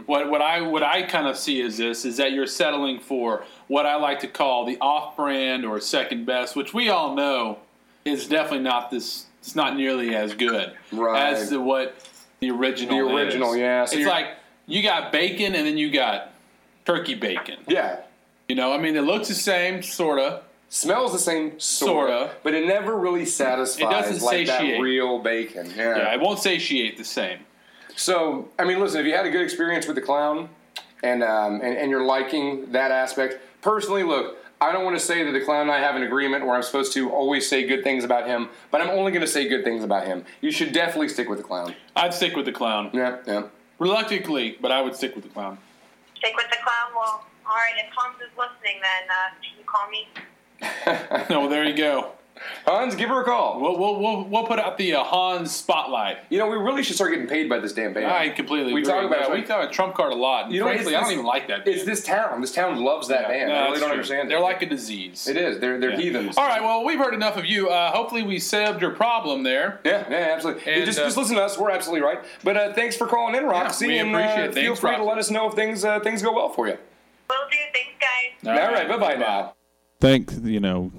Speaker 7: what what I what I kind of see is this is that you're settling for what I like to call the off-brand or second best, which we all know is definitely not this. It's not nearly as good
Speaker 3: Right.
Speaker 7: as the, what the original.
Speaker 3: The original,
Speaker 7: is.
Speaker 3: yeah. So
Speaker 7: it's
Speaker 3: you're-
Speaker 7: like you got bacon and then you got turkey bacon.
Speaker 3: Yeah.
Speaker 7: You know, I mean, it looks the same, sorta.
Speaker 3: Smells the same, sort of,
Speaker 7: Sorta.
Speaker 3: but it never really satisfies
Speaker 7: doesn't
Speaker 3: like
Speaker 7: satiate.
Speaker 3: that real bacon.
Speaker 7: Yeah, it won't satiate the same.
Speaker 3: So, I mean, listen, if you had a good experience with the clown and, um, and, and you're liking that aspect, personally, look, I don't want to say that the clown and I have an agreement where I'm supposed to always say good things about him, but I'm only going to say good things about him. You should definitely stick with the clown.
Speaker 7: I'd stick with the clown,
Speaker 3: Yeah, yeah.
Speaker 7: reluctantly, but I would stick with the clown. *laughs*
Speaker 5: Stick with the clown. Well, all right. If Tom's is listening, then uh, can you call me?
Speaker 7: No, there you go.
Speaker 3: Hans, give her a call.
Speaker 7: We'll we'll we'll, we'll put out the uh, Hans spotlight.
Speaker 3: You know, we really should start getting paid by this damn band.
Speaker 7: I completely.
Speaker 3: We
Speaker 7: agree.
Speaker 3: talk about
Speaker 7: yeah,
Speaker 3: it,
Speaker 7: we
Speaker 3: like-
Speaker 7: talk about Trump card a lot. And
Speaker 3: You know,
Speaker 7: frankly,
Speaker 3: it's-
Speaker 7: I don't even like that.
Speaker 3: It's this town. This town loves that
Speaker 7: Yeah,
Speaker 3: band.
Speaker 7: no,
Speaker 3: I
Speaker 7: that's
Speaker 3: really don't
Speaker 7: true.
Speaker 3: understand
Speaker 7: They're
Speaker 3: it.
Speaker 7: like a disease.
Speaker 3: It is. They're, they're
Speaker 7: Yeah.
Speaker 3: heathens.
Speaker 7: All right. Well, we've heard enough of you. Uh, hopefully, we saved your problem there.
Speaker 3: Yeah, yeah, absolutely.
Speaker 7: And,
Speaker 3: just,
Speaker 7: uh,
Speaker 3: just listen to us. We're absolutely right. But uh, thanks for calling in, Roxy.
Speaker 7: we
Speaker 3: and
Speaker 7: appreciate
Speaker 3: uh,
Speaker 7: it.
Speaker 3: feel
Speaker 7: Thanks,
Speaker 3: free to
Speaker 7: Roxy.
Speaker 3: let us know if things uh, things go well for you.
Speaker 5: Will do. Thanks, guys.
Speaker 7: All
Speaker 3: All right, bye bye now.
Speaker 4: Thank you know.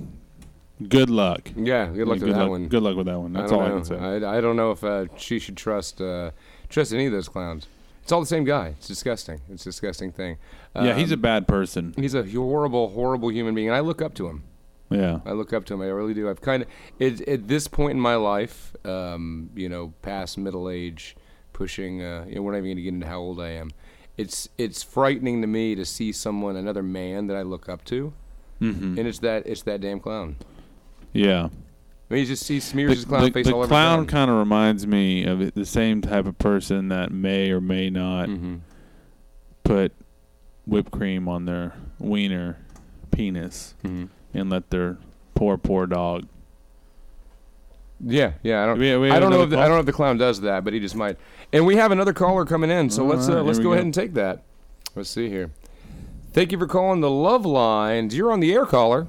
Speaker 4: Good luck.
Speaker 3: Yeah, good luck
Speaker 4: good,
Speaker 3: with that
Speaker 4: luck
Speaker 3: one.
Speaker 4: good luck with that one.
Speaker 3: I
Speaker 4: That's
Speaker 3: don't
Speaker 4: all
Speaker 3: know.
Speaker 4: I can say.
Speaker 3: I, I don't know if uh, she should trust uh, trust any of those clowns. It's all the same guy. It's disgusting. It's a disgusting thing. Uh,
Speaker 4: yeah, he's a bad person.
Speaker 3: he's a horrible, horrible human being, and I look up to him.
Speaker 4: Yeah.
Speaker 3: I look up to him. I really do. I've kind of it, at this point in my life, um, you know, past middle age, pushing. Uh, you know, we're not even going to get into how old I am. It's it's frightening to me to see someone, another man that I look up to,
Speaker 4: Mm-hmm.
Speaker 3: and it's that it's that damn clown.
Speaker 4: Yeah.
Speaker 3: I mean, he just he smears his clown face all over.
Speaker 4: clown
Speaker 3: town.
Speaker 4: kind of reminds me of it- the same type of person that may or may not
Speaker 3: Mm-hmm.
Speaker 4: put whipped cream on their wiener penis
Speaker 3: Mm-hmm.
Speaker 4: and let their poor poor dog.
Speaker 3: Yeah, yeah. I don't.
Speaker 4: We- we
Speaker 3: I
Speaker 4: have
Speaker 3: don't know.
Speaker 4: another
Speaker 3: If the, I
Speaker 4: call?
Speaker 3: don't know if the clown does that, but he just might. And we have another caller coming in, so
Speaker 4: All
Speaker 3: let's uh,
Speaker 4: right,
Speaker 3: let's
Speaker 4: here
Speaker 3: go,
Speaker 4: we
Speaker 3: ahead
Speaker 4: go.
Speaker 3: and take that. Let's see here. Thank you for calling the Love Lines. You're on the air, caller.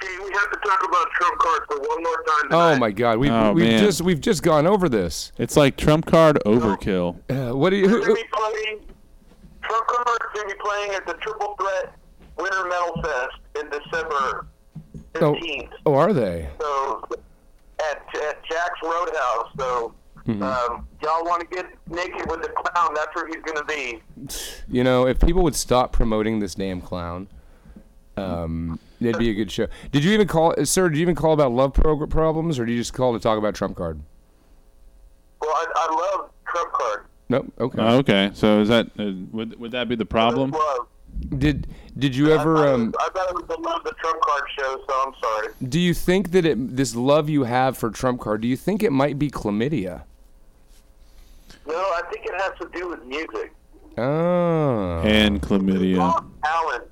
Speaker 8: Hey, we have to talk about Trump cards for one more time.
Speaker 3: Oh
Speaker 8: tonight.
Speaker 3: my God, we've,
Speaker 4: Oh,
Speaker 3: we've
Speaker 4: man.
Speaker 3: just we've just gone over this.
Speaker 4: It's like trump card overkill.
Speaker 3: Uh, what do you? Who, who-
Speaker 8: They're gonna be playing. Trump cards are gonna be playing at the Triple Threat Winter Metal Fest in December
Speaker 3: oh,
Speaker 8: fifteenth.
Speaker 3: oh, are they?
Speaker 8: So at at Jack's Roadhouse. So um, y'all want to get naked with the clown? That's where he's gonna be.
Speaker 3: You know, if people would stop promoting this damn clown, um, it'd be a good show. Did you even call, uh, sir? Did you even call about love pro- problems, or did you just call to talk about Trump Card?
Speaker 8: Well, I, I love Trump card.
Speaker 3: Nope. Okay.
Speaker 4: Oh, okay, so is that uh, would would that be the problem?
Speaker 8: Love.
Speaker 3: did Did you ever?
Speaker 8: I,
Speaker 3: Um,
Speaker 8: I thought it was the love the Trump card show, so I'm sorry.
Speaker 3: do you think that it, this love you have for Trump Card? Do you think it might be chlamydia?
Speaker 8: No, I think it has to do with music.
Speaker 3: Oh,
Speaker 4: And chlamydia.
Speaker 8: Bob Allen,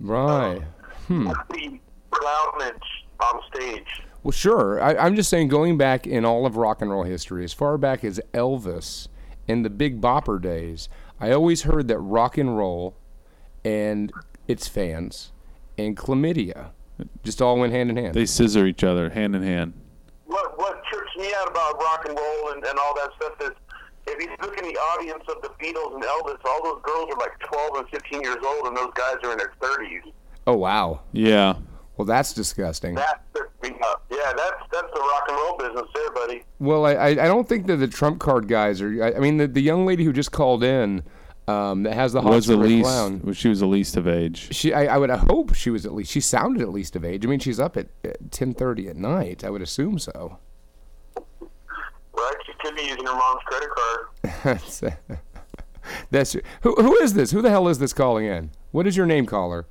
Speaker 3: right.
Speaker 8: the clownage on stage.
Speaker 3: Well, sure. I, I'm just saying, going back in all of rock and roll history, as far back as Elvis and the Big Bopper days, I always heard that rock and roll and its fans and chlamydia just all went hand in hand.
Speaker 4: They scissor each other hand in hand.
Speaker 8: what what trips me out about rock and roll and, and all that stuff is if you look in the audience of the Beatles and Elvis, all those girls are like 12 and 15 years old, and those guys are in their 30s.
Speaker 3: oh, wow.
Speaker 4: Yeah.
Speaker 3: Well, that's disgusting.
Speaker 8: That trips me up. Yeah, that's that's the rock and roll business there, buddy.
Speaker 3: Well, I, I I don't think that the trump card guys are. I, I mean, the, the young lady who just called in, um, that has the
Speaker 4: was the
Speaker 3: Hotspur
Speaker 4: least
Speaker 3: clown.
Speaker 4: well, she was the least of age.
Speaker 3: She, I, I would hope she was at least. She sounded at least of age. I mean, she's up at ten thirty at night. I would assume so.
Speaker 8: Right? She could be using her mom's credit card.
Speaker 3: That's that's who. Who is this? Who the hell is this calling in? What is your name, caller?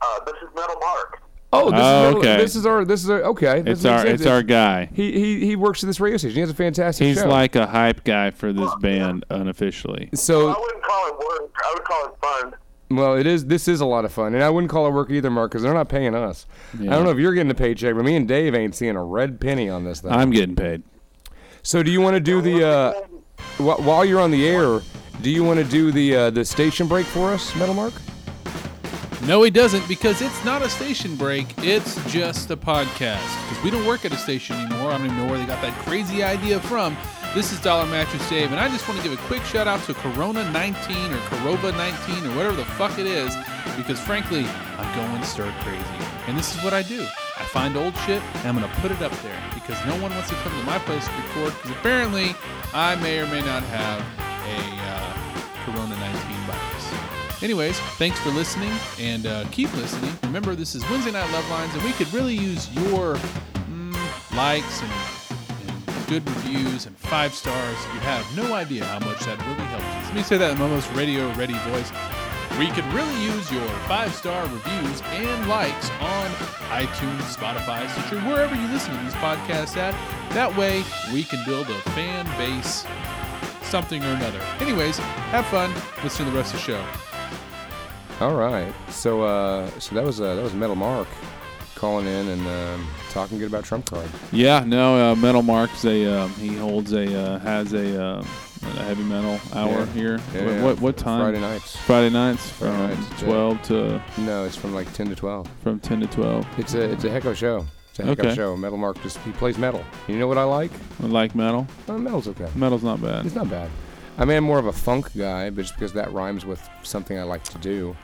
Speaker 8: Uh, this is Metal Mark.
Speaker 3: Oh,
Speaker 4: Oh,
Speaker 3: this, is, our-
Speaker 4: okay.
Speaker 3: this is our. This is our. Okay, this
Speaker 4: It's
Speaker 3: makes
Speaker 4: our
Speaker 3: sense.
Speaker 4: it's our guy.
Speaker 3: He, he he works at this radio station. He has a fantastic
Speaker 4: He's
Speaker 3: show.
Speaker 4: like a hype guy for this band unofficially.
Speaker 8: I
Speaker 3: so.
Speaker 8: wouldn't call it work. I would call it fun.
Speaker 3: Well, it is. This is a lot of fun, and I wouldn't call it work either, Mark, because they're not paying us. I
Speaker 4: Yeah.
Speaker 3: don't know if you're getting a paycheck, but me and Dave ain't seeing a red penny on this thing.
Speaker 4: I'm getting paid.
Speaker 3: so, do you want to do the uh, wh- while you're on the air? Do you want to do the uh, the station break for us, Metal Mark?
Speaker 1: No, he doesn't because it's not a station break. It's just a podcast. Because we don't work at a station anymore. I don't even know where they got that crazy idea from. This is Dollar Mattress Dave, and I just want to give a quick shout out to Corona 19 or Corova 19 or whatever the fuck it is because frankly, I'm going stir crazy. And this is what I do I find old shit and I'm going to put it up there because no one wants to come to my place to record because apparently I may or may not have a uh, Corona 19 virus. Anyways, thanks for listening and uh, keep listening. Remember, this is Wednesday Night Love Lines, and we could really use your mm, likes and, and good reviews and five stars. You have no idea how much that really helps us. Let me say that in my most radio ready voice. We could really use your five star reviews and likes on iTunes, Spotify, Stitcher, wherever you listen to these podcasts at. That way, we can build a fan base, something or another. Anyways, have fun. Listen to the rest of the show.
Speaker 3: All right. So uh, so that was uh, that was Metal Mark calling in and um, talking good about Trump card.
Speaker 4: Yeah, no, uh, Metal Mark's a um, he holds a uh, has a, uh, a heavy metal hour
Speaker 3: Yeah.
Speaker 4: here.
Speaker 3: Yeah,
Speaker 4: what,
Speaker 3: yeah.
Speaker 4: what what time?
Speaker 3: Friday nights.
Speaker 4: Friday nights from
Speaker 3: Friday nights, yeah.
Speaker 4: twelve to
Speaker 3: No, it's from like ten to twelve.
Speaker 4: from ten to twelve.
Speaker 3: It's a it's a hecko show. It's a hecko
Speaker 4: Okay.
Speaker 3: show. Metal Mark just he plays metal. You know what I like?
Speaker 4: I like metal.
Speaker 3: Uh, metal's okay.
Speaker 4: Metal's not bad.
Speaker 3: It's not bad. I mean, I'm more of a funk guy, but just because that rhymes with something I like to do.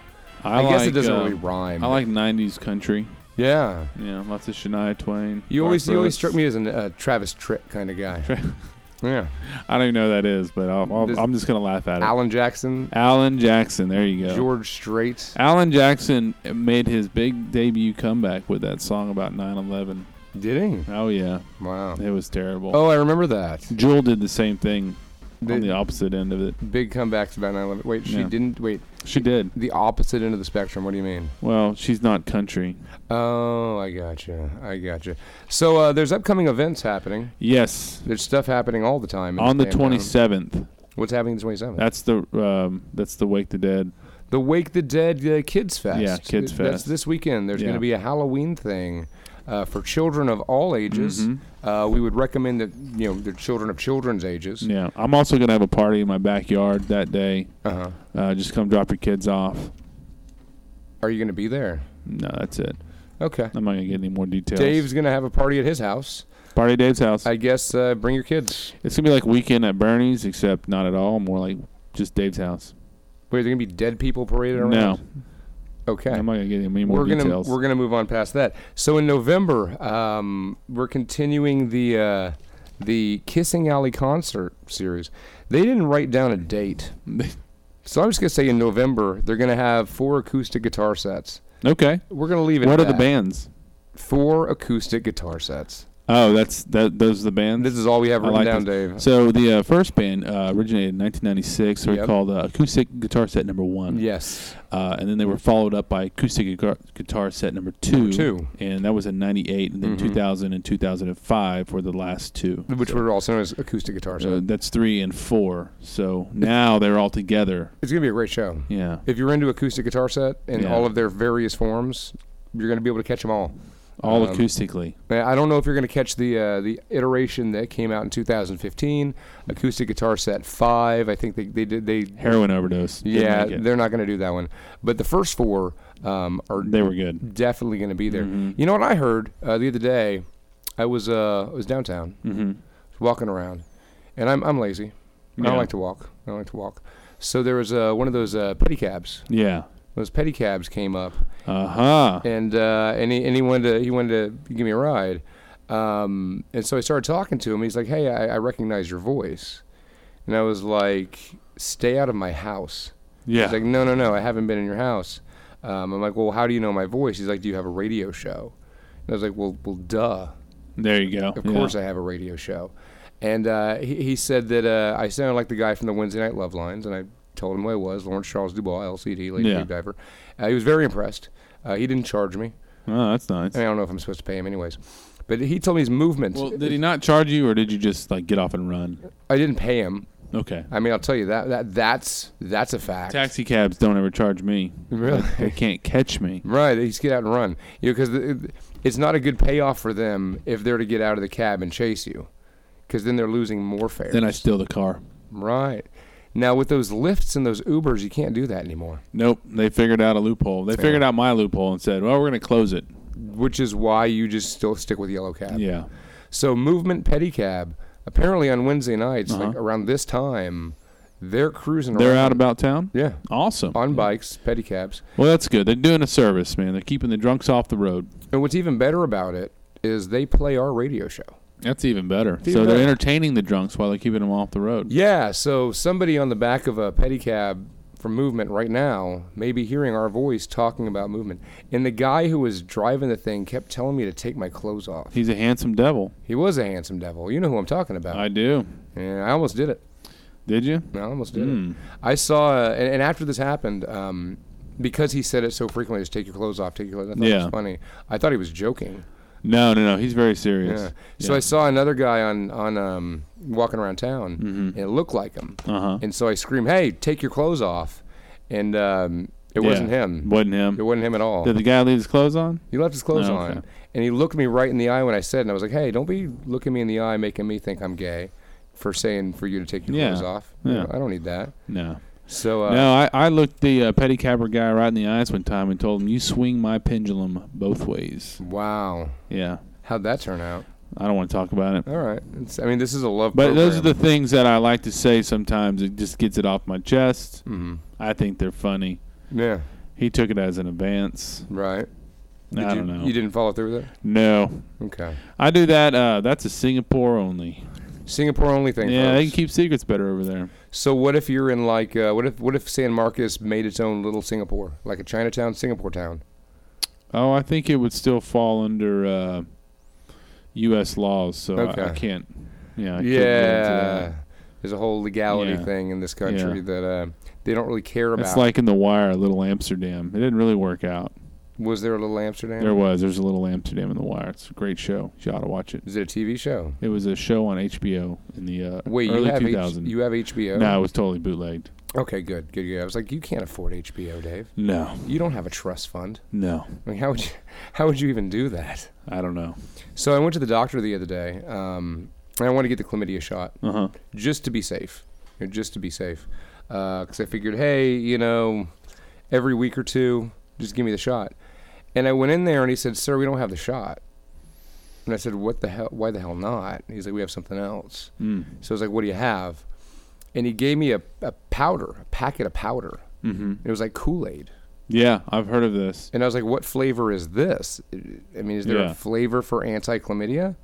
Speaker 3: I, guess
Speaker 4: like,
Speaker 3: it doesn't
Speaker 4: uh,
Speaker 3: really rhyme.
Speaker 4: I like '90s country.
Speaker 3: Yeah.
Speaker 4: Yeah, lots of Shania Twain.
Speaker 3: You always
Speaker 4: Garth
Speaker 3: you always
Speaker 4: Brooks.
Speaker 3: struck me as a uh, Travis Tritt kind of guy. *laughs*
Speaker 4: *laughs*
Speaker 3: yeah.
Speaker 4: I don't even know who that is, but I'll, I'll,
Speaker 3: This-
Speaker 4: I'm just gonna laugh at it. Alan,
Speaker 3: Alan Jackson,
Speaker 4: Jackson. There you go.
Speaker 3: George Strait.
Speaker 4: Alan Jackson made his big debut comeback with that song about 9/11.
Speaker 3: Did
Speaker 4: Oh yeah,
Speaker 3: he? Wow.
Speaker 4: it was terrible.
Speaker 3: Oh, I remember that.
Speaker 4: Jewel did the same thing
Speaker 3: The
Speaker 4: on the opposite end of it.
Speaker 3: big comebacks about 9/11. Wait, she
Speaker 4: Yeah.
Speaker 3: didn't. Wait,
Speaker 4: She did.
Speaker 3: the opposite end of the spectrum. What do you mean?
Speaker 4: Well, she's not country.
Speaker 3: Oh, I gotcha. I gotcha. So uh, there's upcoming events happening.
Speaker 4: Yes,
Speaker 3: There's stuff happening all the time. in
Speaker 4: on the
Speaker 3: this damn town.
Speaker 4: 27th.
Speaker 3: What's happening the 27th?
Speaker 4: That's the um, that's the Wake the Dead.
Speaker 3: The Wake the Dead uh, Kids Fest.
Speaker 4: Yeah, Kids
Speaker 3: Th- That's
Speaker 4: Fest.
Speaker 3: this weekend. There's
Speaker 4: Yeah.
Speaker 3: going to be a Halloween thing uh, for children of all ages.
Speaker 4: Mm-hmm.
Speaker 3: Uh, we would recommend that you know the children of children's ages.
Speaker 4: Yeah, I'm also gonna have a party in my backyard that day.
Speaker 3: Uh-huh.
Speaker 4: Uh, just come drop your kids off.
Speaker 3: Are you going to be there?
Speaker 4: No, that's it.
Speaker 3: Okay.
Speaker 4: I'm not gonna get any more details.
Speaker 3: Dave's going to have a party at his house.
Speaker 4: party at Dave's house.
Speaker 3: I guess uh, bring your kids.
Speaker 4: it's gonna be like weekend at Bernie's, except not at all. More like just Dave's house.
Speaker 3: Wait, are there going to be dead people paraded around?
Speaker 4: No,
Speaker 3: Okay.
Speaker 4: I'm not gonna get any more
Speaker 3: we're gonna
Speaker 4: details.
Speaker 3: we're gonna move on past that. So in November, um, we're continuing the uh, the Kissing Alley concert series. They didn't write down a
Speaker 4: *laughs*
Speaker 3: date, so I'm just gonna say in November they're gonna have four acoustic guitar sets.
Speaker 4: okay.
Speaker 3: We're gonna leave it.
Speaker 4: What
Speaker 3: at
Speaker 4: are the
Speaker 3: that.
Speaker 4: bands?
Speaker 3: Four acoustic guitar sets.
Speaker 4: Oh, that's that. Those are the bands.
Speaker 3: This is all we have
Speaker 4: I
Speaker 3: written
Speaker 4: like
Speaker 3: down,
Speaker 4: this.
Speaker 3: Dave.
Speaker 4: So the uh, first band uh, originated in 1996. They were
Speaker 3: Yep.
Speaker 4: called uh, Acoustic Guitar Set Number One.
Speaker 3: yes,
Speaker 4: Uh, and then they were followed up by Acoustic Guitar, guitar Set Number Two.
Speaker 3: two. Mm-hmm.
Speaker 4: And that was in '98, and then 2000 and 2005 were the last two.
Speaker 3: which were also known as acoustic guitar sets.
Speaker 4: So that's three and four. So now they're all together.
Speaker 3: it's gonna be a great show.
Speaker 4: Yeah.
Speaker 3: If you're into acoustic guitar set in
Speaker 4: Yeah.
Speaker 3: all of their various forms, you're gonna be able to catch them all.
Speaker 4: All
Speaker 3: Um,
Speaker 4: acoustically.
Speaker 3: Man, I don't know if you're going to catch the uh, the iteration that came out in 2015, acoustic guitar set five. I think they they did they.
Speaker 4: Heroin overdose. Didn't
Speaker 3: yeah,
Speaker 4: like it.
Speaker 3: they're not going to do that one. But the first four um, are
Speaker 4: they were Mm-hmm. good.
Speaker 3: definitely going to be there. You know what I heard uh, the other day? I was uh, I was downtown, mm-hmm. walking around, and I'm I'm lazy. I
Speaker 4: Yeah.
Speaker 3: don't like to walk. I don't like to walk. So there was uh, one of those uh, pedicabs.
Speaker 4: Yeah.
Speaker 3: Those pedicabs came up,
Speaker 4: Uh huh.
Speaker 3: and uh, and he and he wanted to he wanted to give me a ride, um, and so I started talking to him. He's like, "Hey, I, I recognize your voice," and I was like, stay out of my house.
Speaker 4: Yeah.
Speaker 3: He's like, no, no, no, I haven't been in your house. Um, I'm like, well, how do you know my voice? He's like, do you have a radio show? And I was like, well, well, duh.
Speaker 4: there you go.
Speaker 3: Of course, I have a radio show. And uh, he, he said that uh, I sounded like the guy from the Wednesday Night Love Lines, and I told him who I was, Lawrence Charles Dubois, LCD, Lady
Speaker 4: Yeah.
Speaker 3: Deep Diver. Uh, he was very impressed. Uh, he didn't charge me.
Speaker 4: Oh, that's nice.
Speaker 3: I, mean, I don't know if I'm supposed to pay him, anyways. But he told me his movements.
Speaker 4: Well, did he not charge you, or did you just like get off and run?
Speaker 3: I didn't pay him.
Speaker 4: Okay.
Speaker 3: I mean, I'll tell you that that that's that's a fact.
Speaker 4: Taxi cabs don't ever charge me.
Speaker 3: Really?
Speaker 4: They can't catch
Speaker 3: *laughs*
Speaker 4: me.
Speaker 3: Right, they just get out and run. You know, because it's not a good payoff for them if they're to get out of the cab and chase you, because then they're losing more fares.
Speaker 4: Then I steal the car.
Speaker 3: right. Now with those lifts and those Ubers, you can't do that anymore,
Speaker 4: Nope. They figured out a loophole. They figured out my loophole and said, "Well, we're going to close it."
Speaker 3: which is why you just still stick with yellow cab.
Speaker 4: Yeah.
Speaker 3: So movement pedicab. Apparently on Wednesday nights, like around this time, they're cruising.
Speaker 4: Uh-huh. They're
Speaker 3: around.
Speaker 4: out about town.
Speaker 3: Yeah.
Speaker 4: Awesome.
Speaker 3: On bikes, pedicabs.
Speaker 4: Well, that's good. They're doing a service, man. They're keeping the drunks off the road.
Speaker 3: And what's even better about it is they play our radio show.
Speaker 4: That's even better.
Speaker 3: even
Speaker 4: so they're
Speaker 3: better.
Speaker 4: entertaining the drunks while they're keeping them off the road.
Speaker 3: Yeah, so somebody on the back of a pedicab from Movement right now may be hearing our voice talking about Movement. And the guy who was driving the thing kept telling me to take my clothes off.
Speaker 4: He's a handsome devil.
Speaker 3: He was a handsome devil. You know who I'm talking about.
Speaker 4: I Hmm. do.
Speaker 3: and I almost did it.
Speaker 4: Did you?
Speaker 3: I almost did it. I saw, uh, and, and after this happened, um, because he said it so frequently, just take your clothes off, take your clothes off. I thought it
Speaker 4: Yeah.
Speaker 3: was funny. I thought he was joking.
Speaker 4: No, no, no. He's very serious.
Speaker 3: Yeah. So I saw another guy on on um, walking around town, and it looked like him.
Speaker 4: Mm-hmm. Uh-huh.
Speaker 3: And so I screamed, "Hey, take your clothes off!" And um, it
Speaker 4: Yeah.
Speaker 3: wasn't him.
Speaker 4: Wasn't him.
Speaker 3: It wasn't him at all.
Speaker 4: Did the guy leave his clothes on?
Speaker 3: he left his clothes
Speaker 4: Oh,
Speaker 3: on,
Speaker 4: okay.
Speaker 3: and he looked me right in the eye when I said, and I was like, "Hey, don't be looking me in the eye, making me think I'm gay." For saying for you to take your
Speaker 4: Yeah.
Speaker 3: clothes off,
Speaker 4: Yeah.
Speaker 3: I don't need that.
Speaker 4: No.
Speaker 3: So uh,
Speaker 4: No, I, I looked the uh, pedicabber guy right in the eyes one time and told him, "You swing my pendulum both ways."
Speaker 3: wow,
Speaker 4: Yeah,
Speaker 3: how'd that turn out?
Speaker 4: I don't want to talk about it.
Speaker 3: All right, it's, I mean this is a love.
Speaker 4: But those are the
Speaker 3: program.
Speaker 4: things that I like to say sometimes. It just gets it off my chest. Mm-hmm. I think they're funny.
Speaker 3: yeah,
Speaker 4: He took it as an advance.
Speaker 3: right.
Speaker 4: I
Speaker 3: Did you,
Speaker 4: don't know.
Speaker 3: You didn't follow through with it.
Speaker 4: No,
Speaker 3: Okay.
Speaker 4: I do that. Uh, that's a Singapore only.
Speaker 3: Singapore only thing.
Speaker 4: Yeah, they
Speaker 3: folks.
Speaker 4: can keep secrets better over there.
Speaker 3: So what if you're in like uh, what if what if San Marcos made its own little Singapore, like a Chinatown, Singapore town?
Speaker 4: Oh, I think it would still fall under uh, U.S. laws, so I- I,
Speaker 3: Okay.
Speaker 4: can't. Yeah. I can't get into
Speaker 3: yeah,
Speaker 4: that.
Speaker 3: there's a whole legality
Speaker 4: Yeah.
Speaker 3: thing in this country
Speaker 4: Yeah.
Speaker 3: that uh, they don't really care about.
Speaker 4: It's like in The Wire, Little Amsterdam. It didn't really work out.
Speaker 3: was there a little Amsterdam?
Speaker 4: There was. There's a Little Amsterdam in The Wire. It's a great show. You ought to watch it.
Speaker 3: Is it a TV show?
Speaker 4: It was a show on HBO in the uh,
Speaker 3: Wait,
Speaker 4: early
Speaker 3: you have
Speaker 4: 2000s.
Speaker 3: H- you have HBO?
Speaker 4: no, it was totally bootlegged.
Speaker 3: Okay, good, good, good. I was like, you can't afford HBO, Dave.
Speaker 4: No,
Speaker 3: You don't have a trust fund.
Speaker 4: no,
Speaker 3: I mean, how would you *laughs* how would you even do that?
Speaker 4: I don't know.
Speaker 3: So I went to the doctor the other day, um, and I wanted to get the chlamydia shot.
Speaker 4: Uh huh.
Speaker 3: just to be safe, you know, just to be safe, because I figured, hey, you know, every week or two, just give me the shot. And I went in there, and he said, "Sir, we don't have the shot." And I said, "What the hell? Why the hell not?" And he's like, "We have something else." Mm. So I was like, "What do you have?" And he gave me a, a powder, a packet of powder. Mm-hmm. It was like Kool Aid,
Speaker 4: Yeah, I've heard of this.
Speaker 3: and I was like, "What flavor is this? I mean, is there
Speaker 4: Yeah.
Speaker 3: a flavor for anti-chlamydia?"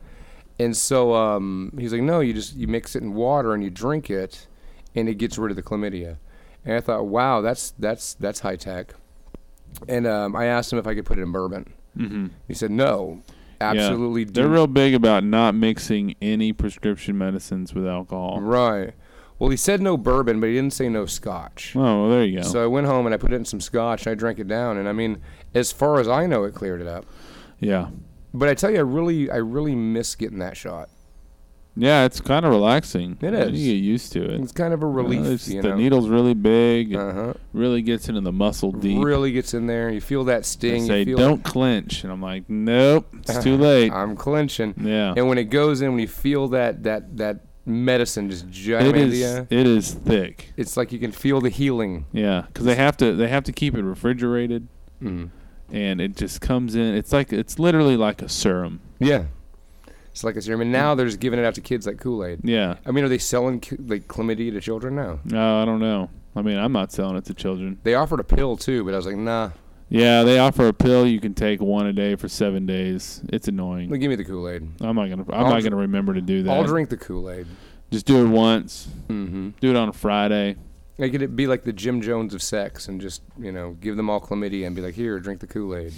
Speaker 3: And so um, he's like, "No, you just you mix it in water and you drink it, and it gets rid of the chlamydia." And I thought, "Wow, that's that's that's high tech." And um, I asked him if I could put it in bourbon. Mm-hmm. He said, "No,
Speaker 4: Yeah.
Speaker 3: absolutely do
Speaker 4: They're real big about not mixing any prescription medicines with alcohol.
Speaker 3: right." Well, he said no bourbon, but he didn't say no scotch.
Speaker 4: Oh, well, there you go.
Speaker 3: So I went home and I put it in some scotch and I drank it down. And I mean, as far as I know, it cleared it up.
Speaker 4: yeah,
Speaker 3: But I tell you, I really, I really miss getting that shot.
Speaker 4: yeah, it's kind of relaxing.
Speaker 3: It
Speaker 4: You
Speaker 3: is.
Speaker 4: get used to it.
Speaker 3: It's kind of a relief,
Speaker 4: it's
Speaker 3: you
Speaker 4: the
Speaker 3: know.
Speaker 4: needle's really big. It
Speaker 3: Uh-huh.
Speaker 4: Really gets into the muscle deep.
Speaker 3: Really gets in there. You feel that
Speaker 4: They
Speaker 3: sting.
Speaker 4: say
Speaker 3: you feel
Speaker 4: don't clench, and I'm like, nope, it's too
Speaker 3: *laughs*
Speaker 4: late.
Speaker 3: I'm clenching.
Speaker 4: Yeah.
Speaker 3: And when it goes in, when you feel that that that medicine just jam
Speaker 4: It
Speaker 3: into
Speaker 4: is.
Speaker 3: you,
Speaker 4: It is thick.
Speaker 3: it's like you can feel the healing.
Speaker 4: Yeah, because they have to they have to keep it refrigerated,
Speaker 3: Mm-hmm.
Speaker 4: and it just comes in. It's like it's literally like a serum.
Speaker 3: Yeah. It's like a serum. And now they're just giving it out to kids like Kool Aid.
Speaker 4: Yeah.
Speaker 3: I mean, are they selling ki- like chlamydia to children now?
Speaker 4: Uh, I don't know. I mean, I'm not selling it to children.
Speaker 3: They offered a pill too, but I was like, nah.
Speaker 4: Yeah, they offer a pill you can take one a day for seven days. It's annoying.
Speaker 3: Well, give me the Kool Aid.
Speaker 4: I'm not gonna. I'm
Speaker 3: I'll
Speaker 4: not
Speaker 3: dr-
Speaker 4: gonna remember to do that.
Speaker 3: I'll drink the Kool Aid. Mm-hmm.
Speaker 4: Just do it once. Do it on a Friday.
Speaker 3: Like it'd be like the Jim Jones of sex, and just you know, give them all chlamydia and be like, here, drink the Kool Aid.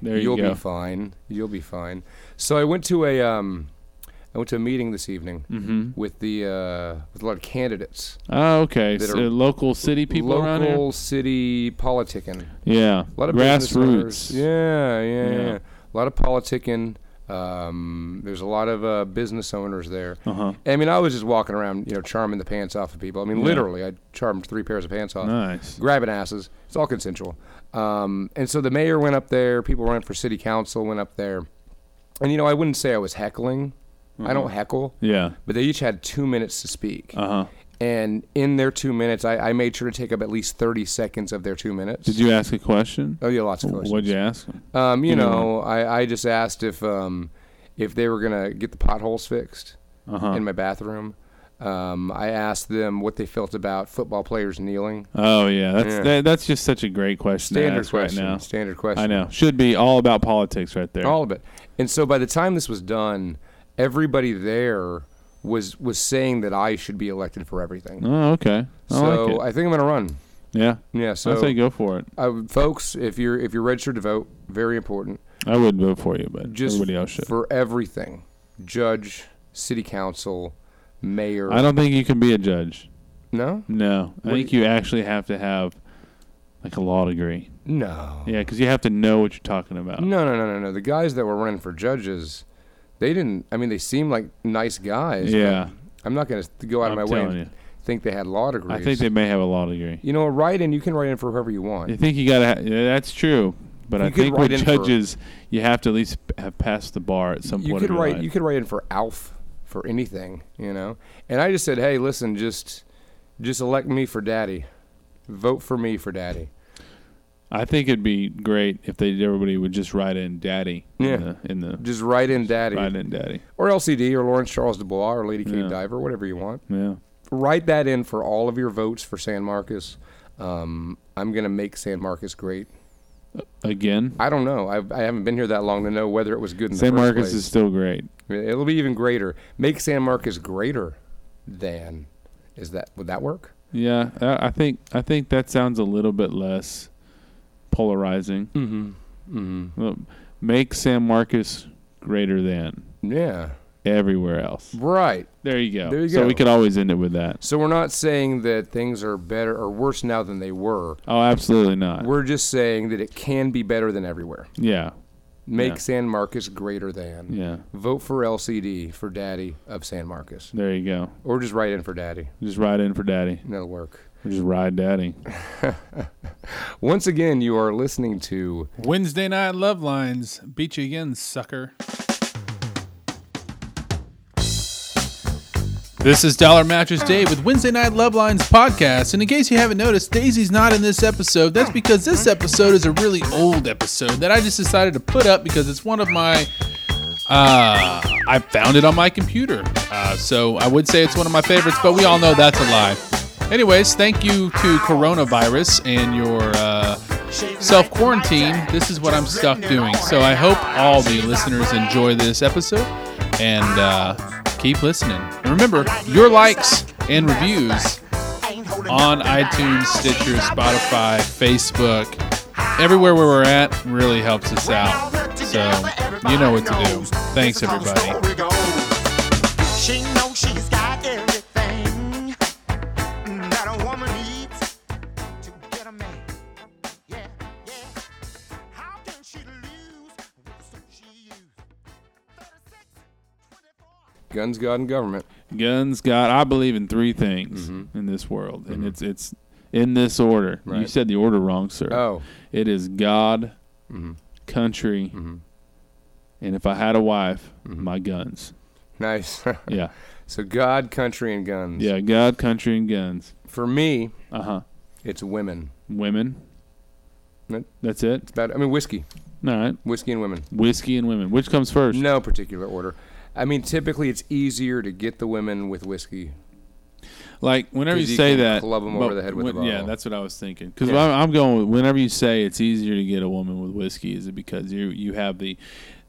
Speaker 4: There you
Speaker 3: will
Speaker 4: go.
Speaker 3: be fine. You'll be fine. So I went to a um, I went to a meeting this evening
Speaker 4: Mm-hmm.
Speaker 3: with the uh, with a lot of candidates,
Speaker 4: Oh, okay.
Speaker 3: That
Speaker 4: So
Speaker 3: are
Speaker 4: local city people around here.
Speaker 3: local city politicking,
Speaker 4: Yeah.
Speaker 3: a lot of business owners.
Speaker 4: grassroots.
Speaker 3: Yeah, yeah,
Speaker 4: Yeah.
Speaker 3: yeah, A lot of politicking. Um, there's a lot of uh, business owners there.
Speaker 4: Uh-huh.
Speaker 3: I mean, I was just walking around, you know, charming the pants off of people. I mean,
Speaker 4: Yeah.
Speaker 3: literally, I charmed three pairs of pants off.
Speaker 4: Nice.
Speaker 3: grabbing asses. It's all consensual. Um, and so the mayor went up there. People running for city council went up there. And you know, I wouldn't say I was heckling. I don't heckle.
Speaker 4: Mm-hmm. Yeah.
Speaker 3: But they each had two minutes to speak.
Speaker 4: Uh huh.
Speaker 3: And in their two minutes, I, I made sure to take up at least thirty seconds of their two minutes.
Speaker 4: Did you ask a question?
Speaker 3: Oh yeah, lots of questions.
Speaker 4: What'd you ask them?
Speaker 3: Um, you
Speaker 4: You know.
Speaker 3: know, I, I just asked if um, if they were gonna get the potholes fixed
Speaker 4: Uh-huh.
Speaker 3: in my bathroom. Um, I asked them what they felt about football players kneeling.
Speaker 4: Oh yeah, that's
Speaker 3: Yeah.
Speaker 4: That, that's just such a great question. to
Speaker 3: Standard
Speaker 4: ask
Speaker 3: question.
Speaker 4: right now.
Speaker 3: Standard question.
Speaker 4: I know. Should be all about politics right there.
Speaker 3: all of it. And so by the time this was done, everybody there was was saying that I should be elected for everything.
Speaker 4: oh, okay. I
Speaker 3: so
Speaker 4: like it.
Speaker 3: I think I'm gonna run.
Speaker 4: yeah.
Speaker 3: Yeah.
Speaker 4: I
Speaker 3: So
Speaker 4: say go for it.
Speaker 3: I would- folks, if you're if you're registered to vote, very important.
Speaker 4: I would vote for you, but
Speaker 3: Just
Speaker 4: everybody else should.
Speaker 3: for everything, judge, city council, mayor.
Speaker 4: I don't think you can be a judge.
Speaker 3: no.
Speaker 4: No, I
Speaker 3: What
Speaker 4: think you actually have to have like a law degree.
Speaker 3: No.
Speaker 4: Yeah, because you have to know what you're talking about.
Speaker 3: No. No. No. No. No. The guys that were running for judges, they didn't. I mean, they seemed like nice guys. but
Speaker 4: Yeah.
Speaker 3: I'm not gonna go out
Speaker 4: I'm
Speaker 3: of my way and
Speaker 4: telling you.
Speaker 3: think they had law degrees.
Speaker 4: I think they may have a law degree.
Speaker 3: You know, write in. You can write in for whoever you want.
Speaker 4: I think you gotta. Ha- yeah, that's true. But
Speaker 3: You
Speaker 4: I
Speaker 3: could
Speaker 4: think
Speaker 3: write
Speaker 4: with
Speaker 3: in for-
Speaker 4: judges, you have to at least p- have passed the bar at some
Speaker 3: you
Speaker 4: point.
Speaker 3: could
Speaker 4: in your
Speaker 3: write
Speaker 4: life.
Speaker 3: you could write in for Alf for anything, you know. And I just said, hey, listen, just just elect me for daddy, vote for me for daddy.
Speaker 4: I think it'd be great if they everybody would just write in "daddy"
Speaker 3: Yeah.
Speaker 4: in the, in the
Speaker 3: Just write in daddy
Speaker 4: write in "daddy."
Speaker 3: or LCD or Lawrence Charles Dubois or Lady Kate
Speaker 4: Yeah.
Speaker 3: Diver, whatever you want.
Speaker 4: Yeah,
Speaker 3: Write that in for all of your votes for San Marcos. Um, I'm gonna make San Marcos great.
Speaker 4: again,
Speaker 3: I don't know. I've, I haven't been here that long to know whether it was good. In
Speaker 4: San
Speaker 3: the first
Speaker 4: Marcos
Speaker 3: place.
Speaker 4: is still great.
Speaker 3: It'll be even greater. Make San Marcos greater than. Is that would that work?
Speaker 4: Yeah, I, I think I think that sounds a little bit less polarizing. Mm-hmm. Mm-hmm. make San Marcos greater than
Speaker 3: Yeah.
Speaker 4: everywhere else.
Speaker 3: Right.
Speaker 4: There you go.
Speaker 3: There you
Speaker 4: so we
Speaker 3: go.
Speaker 4: could always end it with that.
Speaker 3: So we're not saying that things are better or worse now than they were.
Speaker 4: Oh, absolutely not.
Speaker 3: We're just saying that it can be better than everywhere.
Speaker 4: yeah,
Speaker 3: Make
Speaker 4: Yeah.
Speaker 3: San Marcos greater than.
Speaker 4: yeah.
Speaker 3: Vote for LCD for Daddy of San Marcos,
Speaker 4: There you go.
Speaker 3: or just write in for Daddy.
Speaker 4: Just ride in for daddy.
Speaker 3: That'll work.
Speaker 4: Or just ride daddy.
Speaker 3: Once again, you are listening to
Speaker 1: Wednesday night love lines. Beat you again, sucker. This is Dollar Mattress Dave with Wednesday Night Love Lines podcast. And in case you haven't noticed, Daisy's not in this episode. That's because this episode is a really old episode that I just decided to put up because it's one of my. Uh, I found it on my computer. Uh, so I would say it's one of my favorites, but we all know that's a lie. Anyways, thank you to coronavirus and your uh, self quarantine, this is what I'm stuck doing. So I hope all the listeners enjoy this episode and uh, keep listening. And remember, your likes and reviews on iTunes, Stitcher, Spotify, Facebook, everywhere where we're at really helps us out. So you know what to do. Thanks, everybody.
Speaker 2: She knows she's got everything that a woman needs to get a man. Yeah, yeah. How can she lose with the suit she used? 36, 24.
Speaker 3: Guns, God, and Government.
Speaker 4: Guns, God. I believe in three things in this world, and it's it's in this order. You
Speaker 3: Mm-hmm. Right.
Speaker 4: said the order wrong, sir.
Speaker 3: Oh, Mm-hmm.
Speaker 4: It is God, country, and if I had a wife,
Speaker 3: Mm-hmm.
Speaker 4: my guns.
Speaker 3: nice. *laughs*
Speaker 4: Yeah,
Speaker 3: so God, country, and guns.
Speaker 4: yeah. God, country, and guns.
Speaker 3: For me,
Speaker 4: Uh huh.
Speaker 3: it's women.
Speaker 4: Women.
Speaker 3: That-
Speaker 4: That's it.
Speaker 3: About, I mean, whiskey,
Speaker 4: All right.
Speaker 3: whiskey, and women.
Speaker 4: Whiskey and women. Which comes first?
Speaker 3: No particular order. I mean, typically it's easier to get the women with whiskey.
Speaker 4: Like whenever you
Speaker 3: 'Cause you
Speaker 4: say
Speaker 3: can
Speaker 4: that,
Speaker 3: club 'em
Speaker 4: but
Speaker 3: over the head with a
Speaker 4: when- yeah,
Speaker 3: bottle.
Speaker 4: that's what I was thinking. Because
Speaker 3: Yeah.
Speaker 4: I'm, I'm going. with- Whenever you say it's easier to get a woman with whiskey, is it because you you have the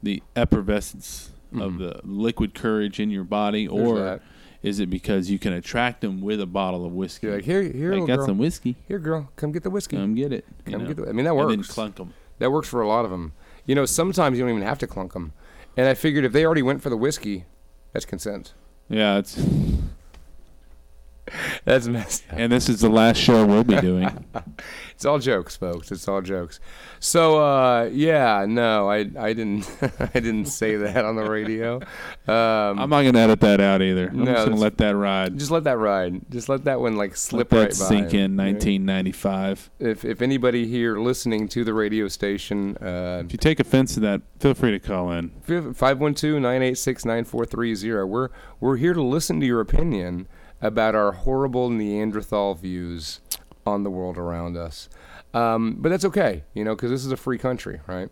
Speaker 4: the effervescence of the liquid courage in your body, or
Speaker 3: Mm-hmm. that.
Speaker 4: Is it because you can attract them with a bottle of whiskey?
Speaker 3: You're like, here, here,
Speaker 4: I
Speaker 3: little
Speaker 4: got
Speaker 3: girl.
Speaker 4: some whiskey.
Speaker 3: Here, girl, come get the whiskey.
Speaker 4: Come get it. Um, you
Speaker 3: Come
Speaker 4: know?
Speaker 3: get the- I mean, that
Speaker 4: And then
Speaker 3: works.
Speaker 4: clunk them.
Speaker 3: That works for a lot of them. You know, sometimes you don't even have to clunk them. And I figured if they already went for the whiskey, that's consent.
Speaker 4: Yeah, it's
Speaker 3: That's messed up.
Speaker 4: and this is the last show we'll be doing.
Speaker 3: *laughs* It's all jokes, folks. It's all jokes. So uh, yeah, no, I I didn't *laughs* I didn't say that on the
Speaker 4: *laughs*
Speaker 3: radio. Um,
Speaker 4: I'm not gonna edit that out either. I'm
Speaker 3: No,
Speaker 4: just gonna
Speaker 3: that's-
Speaker 4: let that ride.
Speaker 3: just let that ride. Just let that one like slip
Speaker 4: let that
Speaker 3: right by.
Speaker 4: sink in.
Speaker 3: you know?
Speaker 4: 1995.
Speaker 3: If if anybody here listening to the radio station, uh,
Speaker 4: If you take offense to that, feel free to call in.
Speaker 3: 512-986-9430. We're we're here to listen to your opinion about our horrible Neanderthal views on the world around us. Um, but that's okay, you know, because this is a free country, right?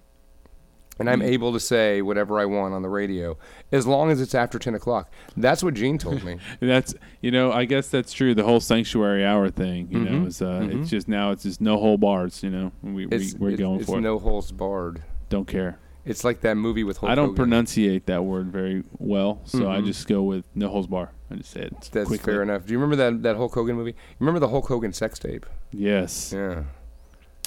Speaker 3: And
Speaker 4: Mm-hmm.
Speaker 3: I'm able to say whatever I want on the radio as long as it's after 10 o'clock. That's what Gene told me.
Speaker 4: That's you know, I guess that's true. The whole sanctuary hour thing, you
Speaker 3: Mm-hmm.
Speaker 4: know, is uh, it's just now it's just no whole bars. You know, we, *laughs* we
Speaker 3: It's,
Speaker 4: we're
Speaker 3: it's-
Speaker 4: going
Speaker 3: it's
Speaker 4: for it.
Speaker 3: no holes barred.
Speaker 4: Don't care.
Speaker 3: It's like that movie with Hulk
Speaker 4: I don't
Speaker 3: Hogan.
Speaker 4: pronunciate that word very well, so I just go with no holes bar. I just say it
Speaker 3: Mm-hmm. That's
Speaker 4: quickly.
Speaker 3: fair enough. Do you remember that, that Hulk Hogan movie? Remember the Hulk Hogan sex tape?
Speaker 4: Yes,
Speaker 3: Yeah.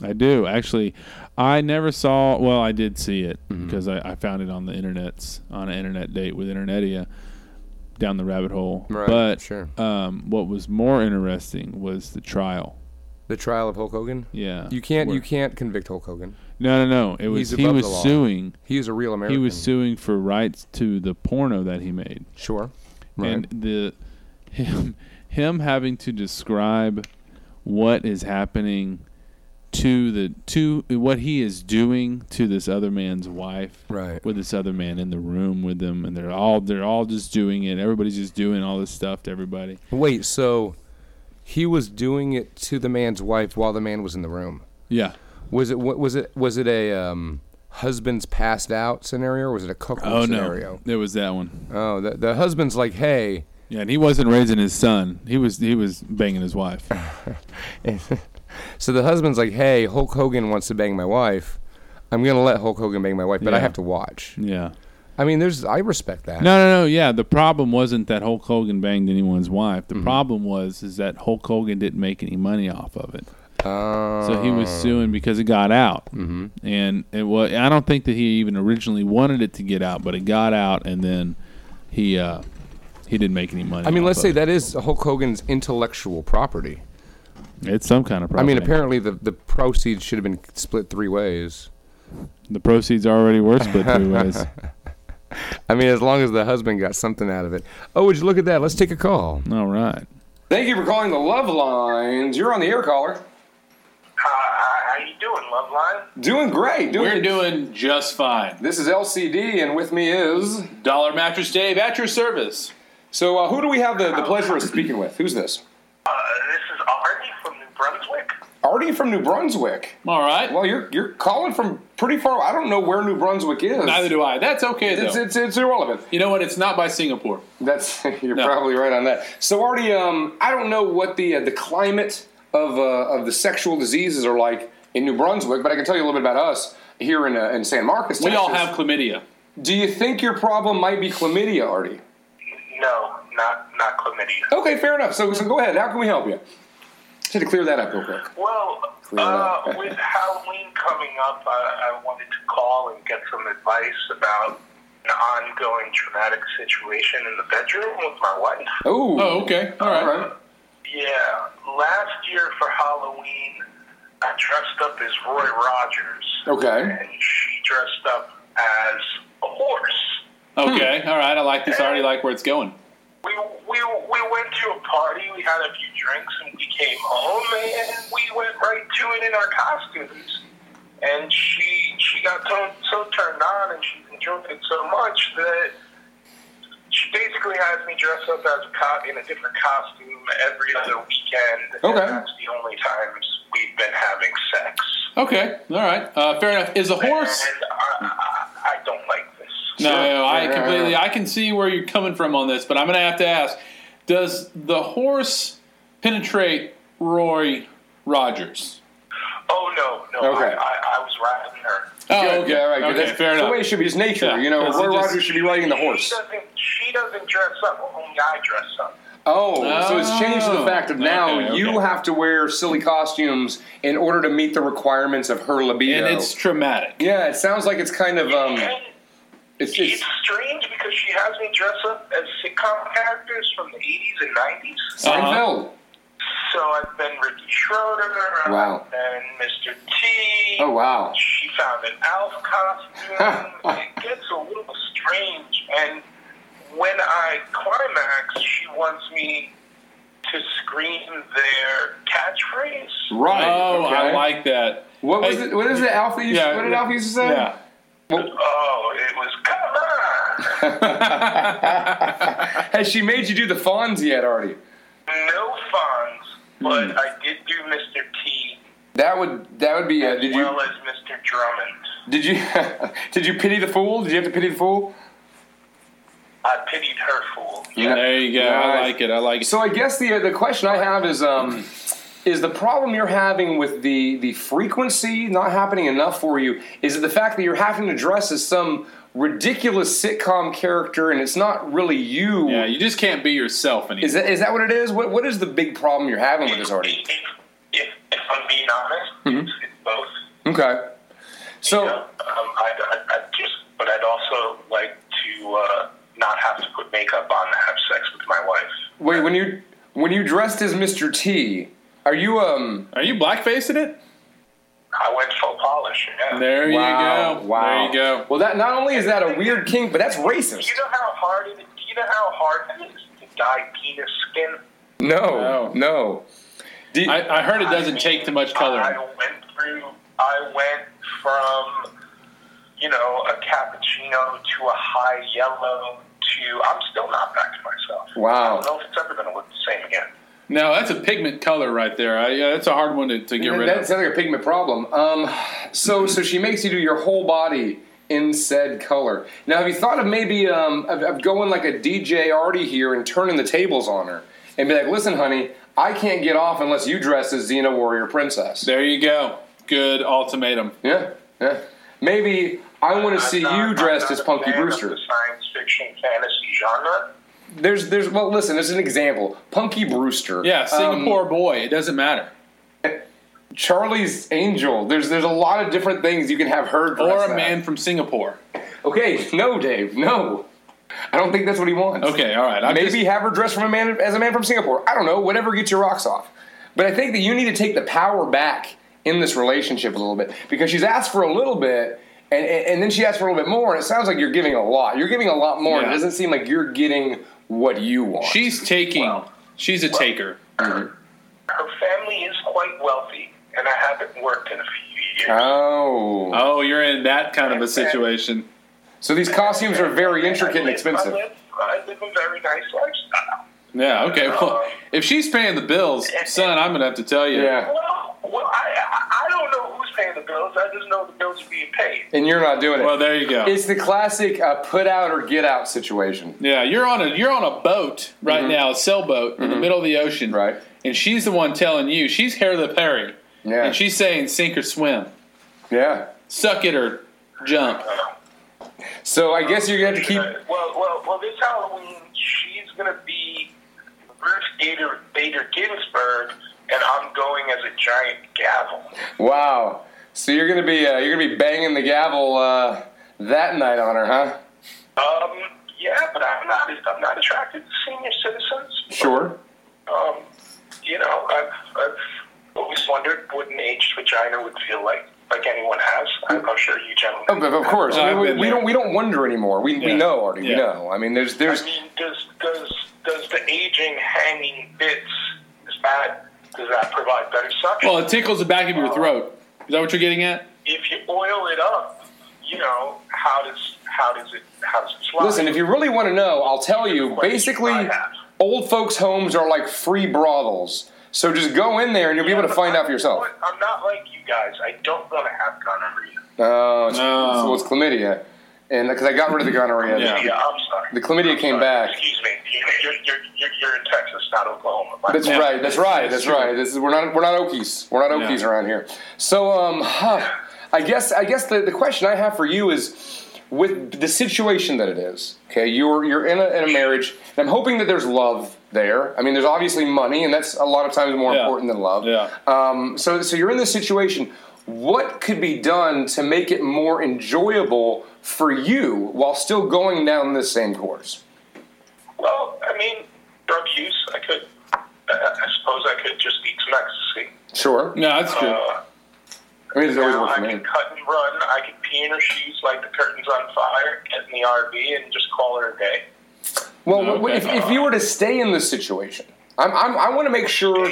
Speaker 4: I do actually. I never saw. Well, I did see it
Speaker 3: Mm-hmm.
Speaker 4: because I, I found it on the internet's on an internet date with Internetia down the rabbit hole.
Speaker 3: Right,
Speaker 4: but
Speaker 3: sure.
Speaker 4: um, what was more interesting was the trial.
Speaker 3: The trial of Hulk Hogan?
Speaker 4: Yeah,
Speaker 3: You can't
Speaker 4: where-
Speaker 3: you can't convict Hulk Hogan.
Speaker 4: No, no, no. It was
Speaker 3: He's
Speaker 4: he
Speaker 3: above
Speaker 4: was
Speaker 3: the law.
Speaker 4: suing.
Speaker 3: He was a real American.
Speaker 4: He was suing for rights to the porno that he made,
Speaker 3: sure. Right.
Speaker 4: and the him him having to describe what is happening to the to what he is doing to this other man's wife,
Speaker 3: Right.
Speaker 4: With this other man in the room with them, and they're all they're all just doing it. Everybody's just doing all this stuff to everybody.
Speaker 3: Wait, so he was doing it to the man's wife while the man was in the room.
Speaker 4: Yeah.
Speaker 3: Was it wa- was it was it a um, husband's passed out scenario or was it a cuckold
Speaker 4: Oh
Speaker 3: scenario?
Speaker 4: no, there was that one.
Speaker 3: Oh, the, the husband's like, "Hey,
Speaker 4: Yeah, and he wasn't raising his son. He was he was banging his
Speaker 3: *laughs*
Speaker 4: wife.
Speaker 3: so the husband's like, "Hey, Hulk Hogan wants to bang my wife. I'm going to let Hulk Hogan bang my wife, but I
Speaker 4: Yeah.
Speaker 3: have to watch."
Speaker 4: Yeah.
Speaker 3: I mean, there's I respect that.
Speaker 4: No, no, no. Yeah, the problem wasn't that Hulk Hogan banged anyone's wife. The problem was is that Hulk Hogan didn't make any money off of it. So he was suing because it got out, mm-hmm. and it was. I don't think that he even originally wanted it to get out, but it got out, and then he uh, he didn't make any money.
Speaker 3: I mean,
Speaker 4: off
Speaker 3: let's
Speaker 4: of
Speaker 3: say
Speaker 4: it.
Speaker 3: that is Hulk Hogan's intellectual property.
Speaker 4: it's some kind of
Speaker 3: I
Speaker 4: problem.
Speaker 3: mean, apparently the, the proceeds should have been split three ways.
Speaker 4: the proceeds are already were split three ways.
Speaker 3: I mean, as long as the husband got something out of it. Oh, would you look at that? Let's take a call.
Speaker 4: All right.
Speaker 9: Thank you for calling the Love Lines. You're on the air, caller.
Speaker 8: Uh, How, how you doing, Loveline?
Speaker 9: Doing great. Doing
Speaker 7: We're doing just fine.
Speaker 9: This is LCD, and with me is.
Speaker 7: Dollar Mattress Dave at your service.
Speaker 9: So, uh, who do we have the, the pleasure of speaking with? Who's this?
Speaker 8: Uh, this is Artie from New Brunswick.
Speaker 9: Artie from New Brunswick.
Speaker 7: All right.
Speaker 9: Well, you're you're calling from pretty far. I don't know where New Brunswick is.
Speaker 7: Neither do I. That's okay though.
Speaker 9: It's it's, it's irrelevant.
Speaker 7: you know what? It's not by Singapore.
Speaker 9: That's *laughs* you're
Speaker 7: No.
Speaker 9: probably right on that. So, Artie, um, I don't know what the uh, the climate of uh, of the sexual diseases are like in New Brunswick, but I can tell you a little bit about us here in uh, in San Marcos.
Speaker 7: We all
Speaker 9: Texas.
Speaker 7: have chlamydia.
Speaker 9: Do you think your problem might be chlamydia, Artie?
Speaker 8: No, not not chlamydia.
Speaker 9: Okay, fair enough. So, so go ahead. How can we help you? Just had to clear that up real quick.
Speaker 8: Well,
Speaker 9: Clear it up.
Speaker 8: uh, with Halloween coming up, I, I wanted to call and get some advice about an ongoing traumatic situation in the bedroom with my wife.
Speaker 9: Ooh.
Speaker 7: Oh, okay. All right.
Speaker 8: Yeah, last year for Halloween, I dressed up as Roy Rogers,
Speaker 9: Okay.
Speaker 8: and she dressed up as a horse.
Speaker 7: Okay. All right. I like this. I already like where it's going.
Speaker 8: We, we, we went to a party, we had a few drinks, and we came home, and we went right to it in our costumes. And she she got so, so turned on, and she enjoyed it so much that she basically has me dress up as a cop in a different costume every other weekend. and
Speaker 9: Okay.
Speaker 8: that's the only times we've been having sex.
Speaker 7: Okay. All right. Uh, fair enough. Is a horse?
Speaker 8: And I, I, I don't like this.
Speaker 7: No, no, I
Speaker 9: Sure.
Speaker 7: completely. I can see where you're coming from on this, but I'm going to have to ask: Does the horse penetrate Roy Rogers?
Speaker 8: Oh, no, no.
Speaker 9: Okay.
Speaker 8: I, I, I was riding her.
Speaker 1: Oh,
Speaker 3: Good,
Speaker 1: okay.
Speaker 3: Yeah, right. good.
Speaker 1: Okay,
Speaker 3: That's-
Speaker 1: fair
Speaker 3: that's
Speaker 1: enough.
Speaker 3: the way it should be. It's nature.
Speaker 1: Yeah,
Speaker 3: You know,
Speaker 1: that's
Speaker 3: Roy
Speaker 1: just-
Speaker 3: Rogers should be riding the
Speaker 8: She
Speaker 3: horse.
Speaker 8: doesn't, she doesn't dress up. Only I dress up.
Speaker 3: Oh, so it's changed to
Speaker 1: Oh.
Speaker 3: the fact that now
Speaker 1: Okay,
Speaker 3: you
Speaker 1: okay.
Speaker 3: have to wear silly costumes in order to meet the requirements of her libido.
Speaker 1: and it's traumatic.
Speaker 3: yeah, it sounds like it's kind of um,
Speaker 8: and
Speaker 3: it's
Speaker 8: it's
Speaker 3: it's
Speaker 1: Uh-huh.
Speaker 8: strange because she has me dress up as sitcom characters from the 80s and 90s.
Speaker 3: Seinfeld.
Speaker 8: So I've been Ricky Schroeder.
Speaker 3: Wow.
Speaker 8: I've been Mr. T.
Speaker 3: Oh wow.
Speaker 8: She found an elf
Speaker 3: *laughs*
Speaker 8: costume. it gets a little strange. And when I climax, she wants me to scream their catchphrase.
Speaker 3: Right.
Speaker 1: Oh,
Speaker 3: okay.
Speaker 1: I like that.
Speaker 3: What was
Speaker 1: Hey,
Speaker 3: it? What is it? Alf that used,
Speaker 1: yeah,
Speaker 3: What did
Speaker 1: yeah.
Speaker 3: Alf used to say?
Speaker 1: Yeah.
Speaker 8: Oh, it was come on.
Speaker 3: *laughs* Has she made you do the Fonz yet, Artie?
Speaker 8: No funds, but
Speaker 3: Hmm.
Speaker 8: I did do Mr. T
Speaker 3: That would that would be. Uh,
Speaker 8: as
Speaker 3: did you
Speaker 8: well as Mr. Drummond.
Speaker 3: did you *laughs* did you pity the fool? Did you have to pity the fool?
Speaker 8: I pitied her fool.
Speaker 3: Yeah.
Speaker 1: There you go. I
Speaker 3: Nice.
Speaker 1: like it. I like it.
Speaker 3: So I guess the the question I have is um, is the problem you're having with the the frequency not happening enough for you? Is it the fact that you're having to dress as some ridiculous sitcom character and it's not really you?
Speaker 1: yeah, you just can't be yourself anymore.
Speaker 3: Is that is that what it is? What what is the big problem you're having with this, Artie?
Speaker 8: If, if, if I'm being honest, it's, it's both.
Speaker 3: Okay. Hmm. So.
Speaker 8: you know? um, I, I, I just, but I'd also like to uh, not have to put makeup on to have sex with my wife.
Speaker 3: Wait, when you when you dressed as Mr. T, are you um?
Speaker 1: Are you blackfacing it?
Speaker 8: I went full polish. Yeah.
Speaker 1: There you
Speaker 3: wow,
Speaker 1: go.
Speaker 3: Wow.
Speaker 1: There you go.
Speaker 3: Well, that not only is that a weird kink, but that's racist.
Speaker 8: You know how hard it is. You know how hard it is to dye penis skin.
Speaker 1: No.
Speaker 3: No, no. Do you-
Speaker 1: I, I heard it doesn't take too much color.
Speaker 8: I went through. I went from you know a cappuccino to a high yellow to. I'm still not back to myself.
Speaker 3: Wow.
Speaker 8: I don't know if it's ever going to look the same again.
Speaker 1: No, that's a pigment color right there. I, yeah, that's a hard one to, to get rid
Speaker 3: that
Speaker 1: of.
Speaker 3: sounds like a pigment problem. Um, so so she makes you do your whole body in said color. Now, have you thought of maybe um of, of going like a DJ Artie here and turning the tables on her and be like, listen, honey, I can't get off unless you dress as Xena Warrior Princess.
Speaker 1: There you go. Good ultimatum.
Speaker 3: Yeah, yeah. Maybe I want to
Speaker 8: I'm
Speaker 3: see
Speaker 8: not-
Speaker 3: you dressed
Speaker 8: I'm
Speaker 3: as
Speaker 8: not a
Speaker 3: Punky
Speaker 8: fan of
Speaker 3: Brewster.
Speaker 8: the science fiction fantasy genre.
Speaker 3: There's, there's. Well, listen. There's an example. Punky Brewster.
Speaker 1: Yeah, Singapore
Speaker 3: Um,
Speaker 1: boy. It doesn't matter.
Speaker 3: Charlie's Angel. There's, there's a lot of different things you can have her dress
Speaker 1: Or a
Speaker 3: as.
Speaker 1: man from Singapore.
Speaker 3: Okay, *laughs* no, Dave, no. I don't think that's what he wants.
Speaker 1: Okay, all right. I'm
Speaker 3: Maybe
Speaker 1: just-
Speaker 3: have her dress from a man as a man from Singapore. I don't know. Whatever gets your rocks off. But I think that you need to take the power back in this relationship a little bit because she's asked for a little bit. And, and, and then she asked for a little bit more, and it sounds like you're giving a lot. You're giving a lot more, and
Speaker 1: Yeah.
Speaker 3: it doesn't seem like you're getting what you want.
Speaker 1: she's taking. she's a taker.
Speaker 8: Her family is quite wealthy, and I haven't worked in a few years.
Speaker 3: oh.
Speaker 1: Oh, you're in that kind of a situation.
Speaker 3: So these costumes are very intricate and
Speaker 8: I live-
Speaker 3: expensive.
Speaker 8: I live, I live a very nice lifestyle.
Speaker 1: Yeah, okay.
Speaker 3: Uh,
Speaker 1: Well, if she's paying the
Speaker 3: *laughs*
Speaker 1: bills, son, I'm going to have to tell you.
Speaker 3: Yeah.
Speaker 8: Well, well, I, I I don't know who's paying the bills. I just know the bills are being paid.
Speaker 3: And you're not doing it.
Speaker 1: Well, there you go.
Speaker 3: it's the classic uh, put out or get out situation.
Speaker 1: Yeah, you're on a you're on a boat right now, a sailboat in the middle of the ocean,
Speaker 3: Mm-hmm. Right.
Speaker 1: And she's the one telling you she's Harry the Perry,
Speaker 3: Yeah.
Speaker 1: and she's saying sink or swim,
Speaker 3: yeah.
Speaker 1: suck it or jump.
Speaker 3: So I guess you're gonna have to keep.
Speaker 8: Well, well, well. This Halloween, she's gonna be Ruth Gator Bader Ginsburg, and I'm going as a giant gavel.
Speaker 3: Wow. So you're gonna be uh, you're gonna be banging the gavel uh, that night on her, huh?
Speaker 8: Um, yeah, but I'm not. I'm not attracted to senior citizens.
Speaker 3: Sure.
Speaker 8: Um, you know, I've, I've always wondered what an aged vagina would feel like. Like anyone has, I'm, I'm sure you gentlemen.
Speaker 3: Of, Oh, of course.
Speaker 1: I've
Speaker 3: we,
Speaker 1: been
Speaker 3: we
Speaker 1: there.
Speaker 3: don't we don't wonder anymore. We, we
Speaker 1: Yeah.
Speaker 3: know already.
Speaker 1: Yeah.
Speaker 3: We know. I mean, there's there's
Speaker 8: I mean, does does does the aging hanging bits is that does that provide better suction?
Speaker 1: Well, it tickles the back of your throat. Is that what you're getting at?
Speaker 8: if you oil it up, you know how does how does it how does it slide?
Speaker 3: Listen, if you really want to know, I'll tell you. Basically, old folks' homes are like free brothels. So just go in there and you'll be able to find out for yourself.
Speaker 8: I'm not like you guys. I don't want to have gonorrhea.
Speaker 3: Oh, it's,
Speaker 1: No.
Speaker 3: it's- well, it's chlamydia, and because I got rid of the gonorrhea.
Speaker 1: Yeah.
Speaker 8: Yeah, I'm sorry.
Speaker 3: The chlamydia
Speaker 8: I'm
Speaker 3: came
Speaker 8: sorry.
Speaker 3: back.
Speaker 8: Excuse me. You're, you're, you're, you're in Texas, not Oklahoma. My
Speaker 3: That's
Speaker 8: bad.
Speaker 3: right. That's right.
Speaker 1: That's
Speaker 3: That's
Speaker 1: true.
Speaker 3: right. This is we're not we're not Okies. We're not Okies
Speaker 1: Yeah.
Speaker 3: around here. So um, huh, I guess I guess the, the question I have for you is with the situation that it is. Okay, you're you're in a, in a marriage, and I'm hoping that there's love there. I mean, there's obviously money, and that's a lot of times more
Speaker 1: Yeah.
Speaker 3: important than love.
Speaker 1: Yeah.
Speaker 3: Um, so so you're in this situation. What could be done to make it more enjoyable for you while still going down this same course?
Speaker 8: Well, I mean, drug use. I could. I I suppose I could just eat some ecstasy.
Speaker 3: Sure.
Speaker 1: No, that's good.
Speaker 8: Uh,
Speaker 3: I mean, there's always
Speaker 8: now
Speaker 3: work
Speaker 8: I
Speaker 3: for me.
Speaker 8: could cut and run. I could pee in her shoes like the curtain's on fire. Get in the RV and just call her a day.
Speaker 3: Well,
Speaker 1: No,
Speaker 3: w- if,
Speaker 1: okay.
Speaker 3: if you were to stay in this situation, I'm, I'm, I want to make sure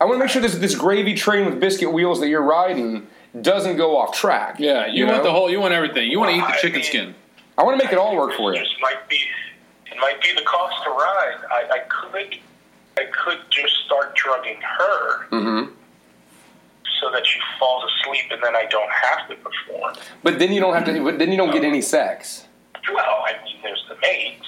Speaker 3: I want to make sure this this gravy train with biscuit wheels that you're riding doesn't go off track.
Speaker 1: Yeah, you, want
Speaker 3: know?
Speaker 1: the whole, you want everything. You want to eat the
Speaker 8: I
Speaker 1: chicken
Speaker 8: mean-
Speaker 1: skin.
Speaker 3: I want to make it all work for you.
Speaker 8: Just might be. It might be the cost to ride. I, I could. I could just start drugging her.
Speaker 3: Mm-hmm.
Speaker 8: So that she falls asleep and then I don't have to perform.
Speaker 3: But then you don't have to. But then you don't get
Speaker 1: Oh.
Speaker 3: any sex.
Speaker 8: Well, I mean, there's the maids.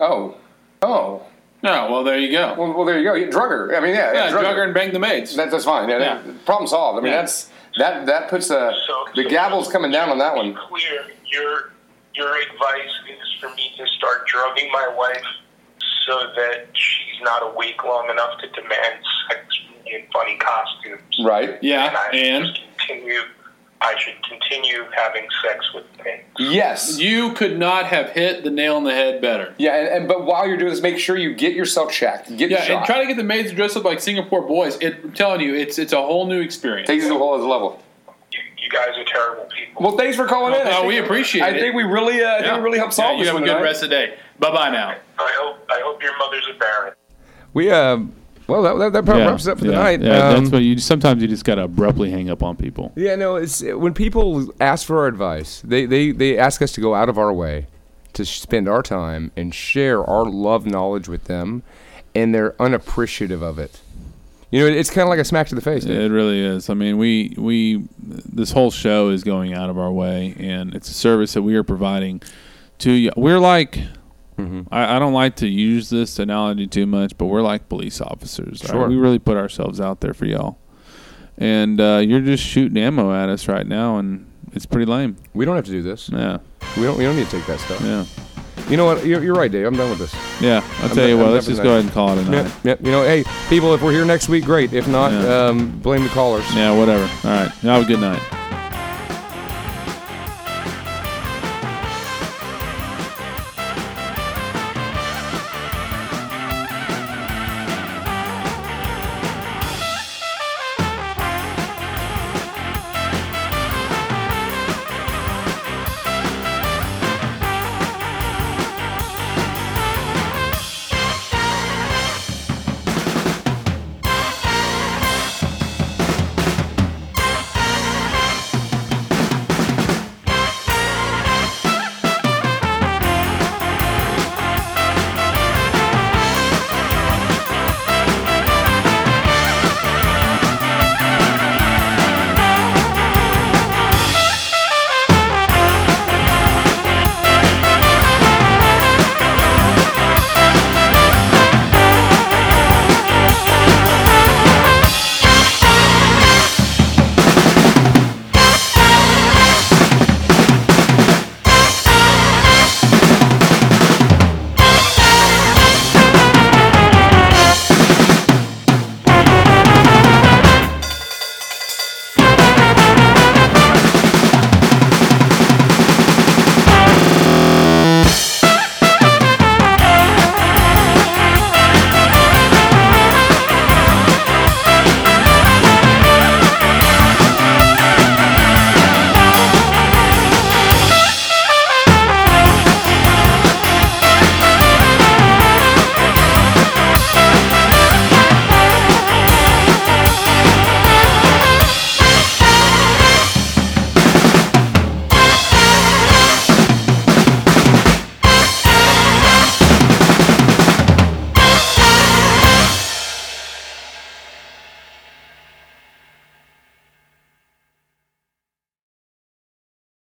Speaker 3: Oh, oh.
Speaker 1: No, well, there you go.
Speaker 3: Well, well there you go. Yeah, Drugger. I mean, yeah,
Speaker 1: Yeah,
Speaker 3: drugger.
Speaker 1: drug her and bang the maids.
Speaker 3: That, that's fine. Yeah, that-
Speaker 1: Yeah.
Speaker 3: problem solved. I mean,
Speaker 1: Yeah.
Speaker 3: that's that. That puts the
Speaker 8: So
Speaker 3: the
Speaker 8: so
Speaker 3: gavel's coming down on that
Speaker 8: to be
Speaker 3: one.
Speaker 8: Clear. Your your advice is for me to start drugging my wife so that she's not awake long enough to demand sex from me in funny costumes.
Speaker 3: Right.
Speaker 8: And
Speaker 1: Yeah,
Speaker 8: I
Speaker 1: and
Speaker 8: should continue. I should continue having sex with things.
Speaker 3: Yes.
Speaker 1: you could not have hit the nail on the head better.
Speaker 3: yeah. And, and but while you're doing this, make sure you get yourself checked. Get
Speaker 1: Yeah,
Speaker 3: shot.
Speaker 1: and try to get the maids to dress up like Singapore boys. It, I'm telling you, it's it's a whole new experience.
Speaker 3: Takes it to a whole other level.
Speaker 8: You, you guys are terrible people.
Speaker 3: Well, thanks for calling in. I
Speaker 1: Oh,
Speaker 3: think-
Speaker 1: we appreciate
Speaker 3: I
Speaker 1: it.
Speaker 3: think we really, uh, I think we really helped solve
Speaker 1: yeah, you
Speaker 3: this
Speaker 1: have
Speaker 3: one
Speaker 1: a good
Speaker 3: tonight.
Speaker 1: rest of the day. Bye bye now.
Speaker 8: I hope I hope your mother's a baron.
Speaker 10: We uh, well that that, that probably wraps it up for the
Speaker 4: yeah,
Speaker 10: night.
Speaker 4: Yeah,
Speaker 10: Um,
Speaker 4: that's what you sometimes you just gotta abruptly hang up on people.
Speaker 10: Yeah, no, it's when people ask for our advice, they, they, they ask us to go out of our way to spend our time and share our love knowledge with them, and they're unappreciative of it. You know, it's kind of like a smack to the face. dude.
Speaker 4: It really is. I mean, we we this whole show is going out of our way, and it's a service that we are providing to you. We're like, I, I don't like to use this analogy too much, but we're like police officers. right?
Speaker 10: Sure.
Speaker 4: We really put ourselves out there for y'all, and uh, you're just shooting ammo at us right now, and it's pretty lame.
Speaker 10: We don't have to do this.
Speaker 4: Yeah,
Speaker 10: We don't. We don't need to take that stuff.
Speaker 4: yeah,
Speaker 10: You know what? You're, you're right, Dave. I'm done with this.
Speaker 4: yeah. I'll tell
Speaker 10: not-
Speaker 4: you what.
Speaker 10: I'm
Speaker 4: let's
Speaker 10: not
Speaker 4: just go ahead and call it a night.
Speaker 10: Yep. Yep. You know, hey, people, if we're here next week, great. If not,
Speaker 4: Yeah.
Speaker 10: um, blame the callers.
Speaker 4: Yeah, whatever. All right. Have a good night.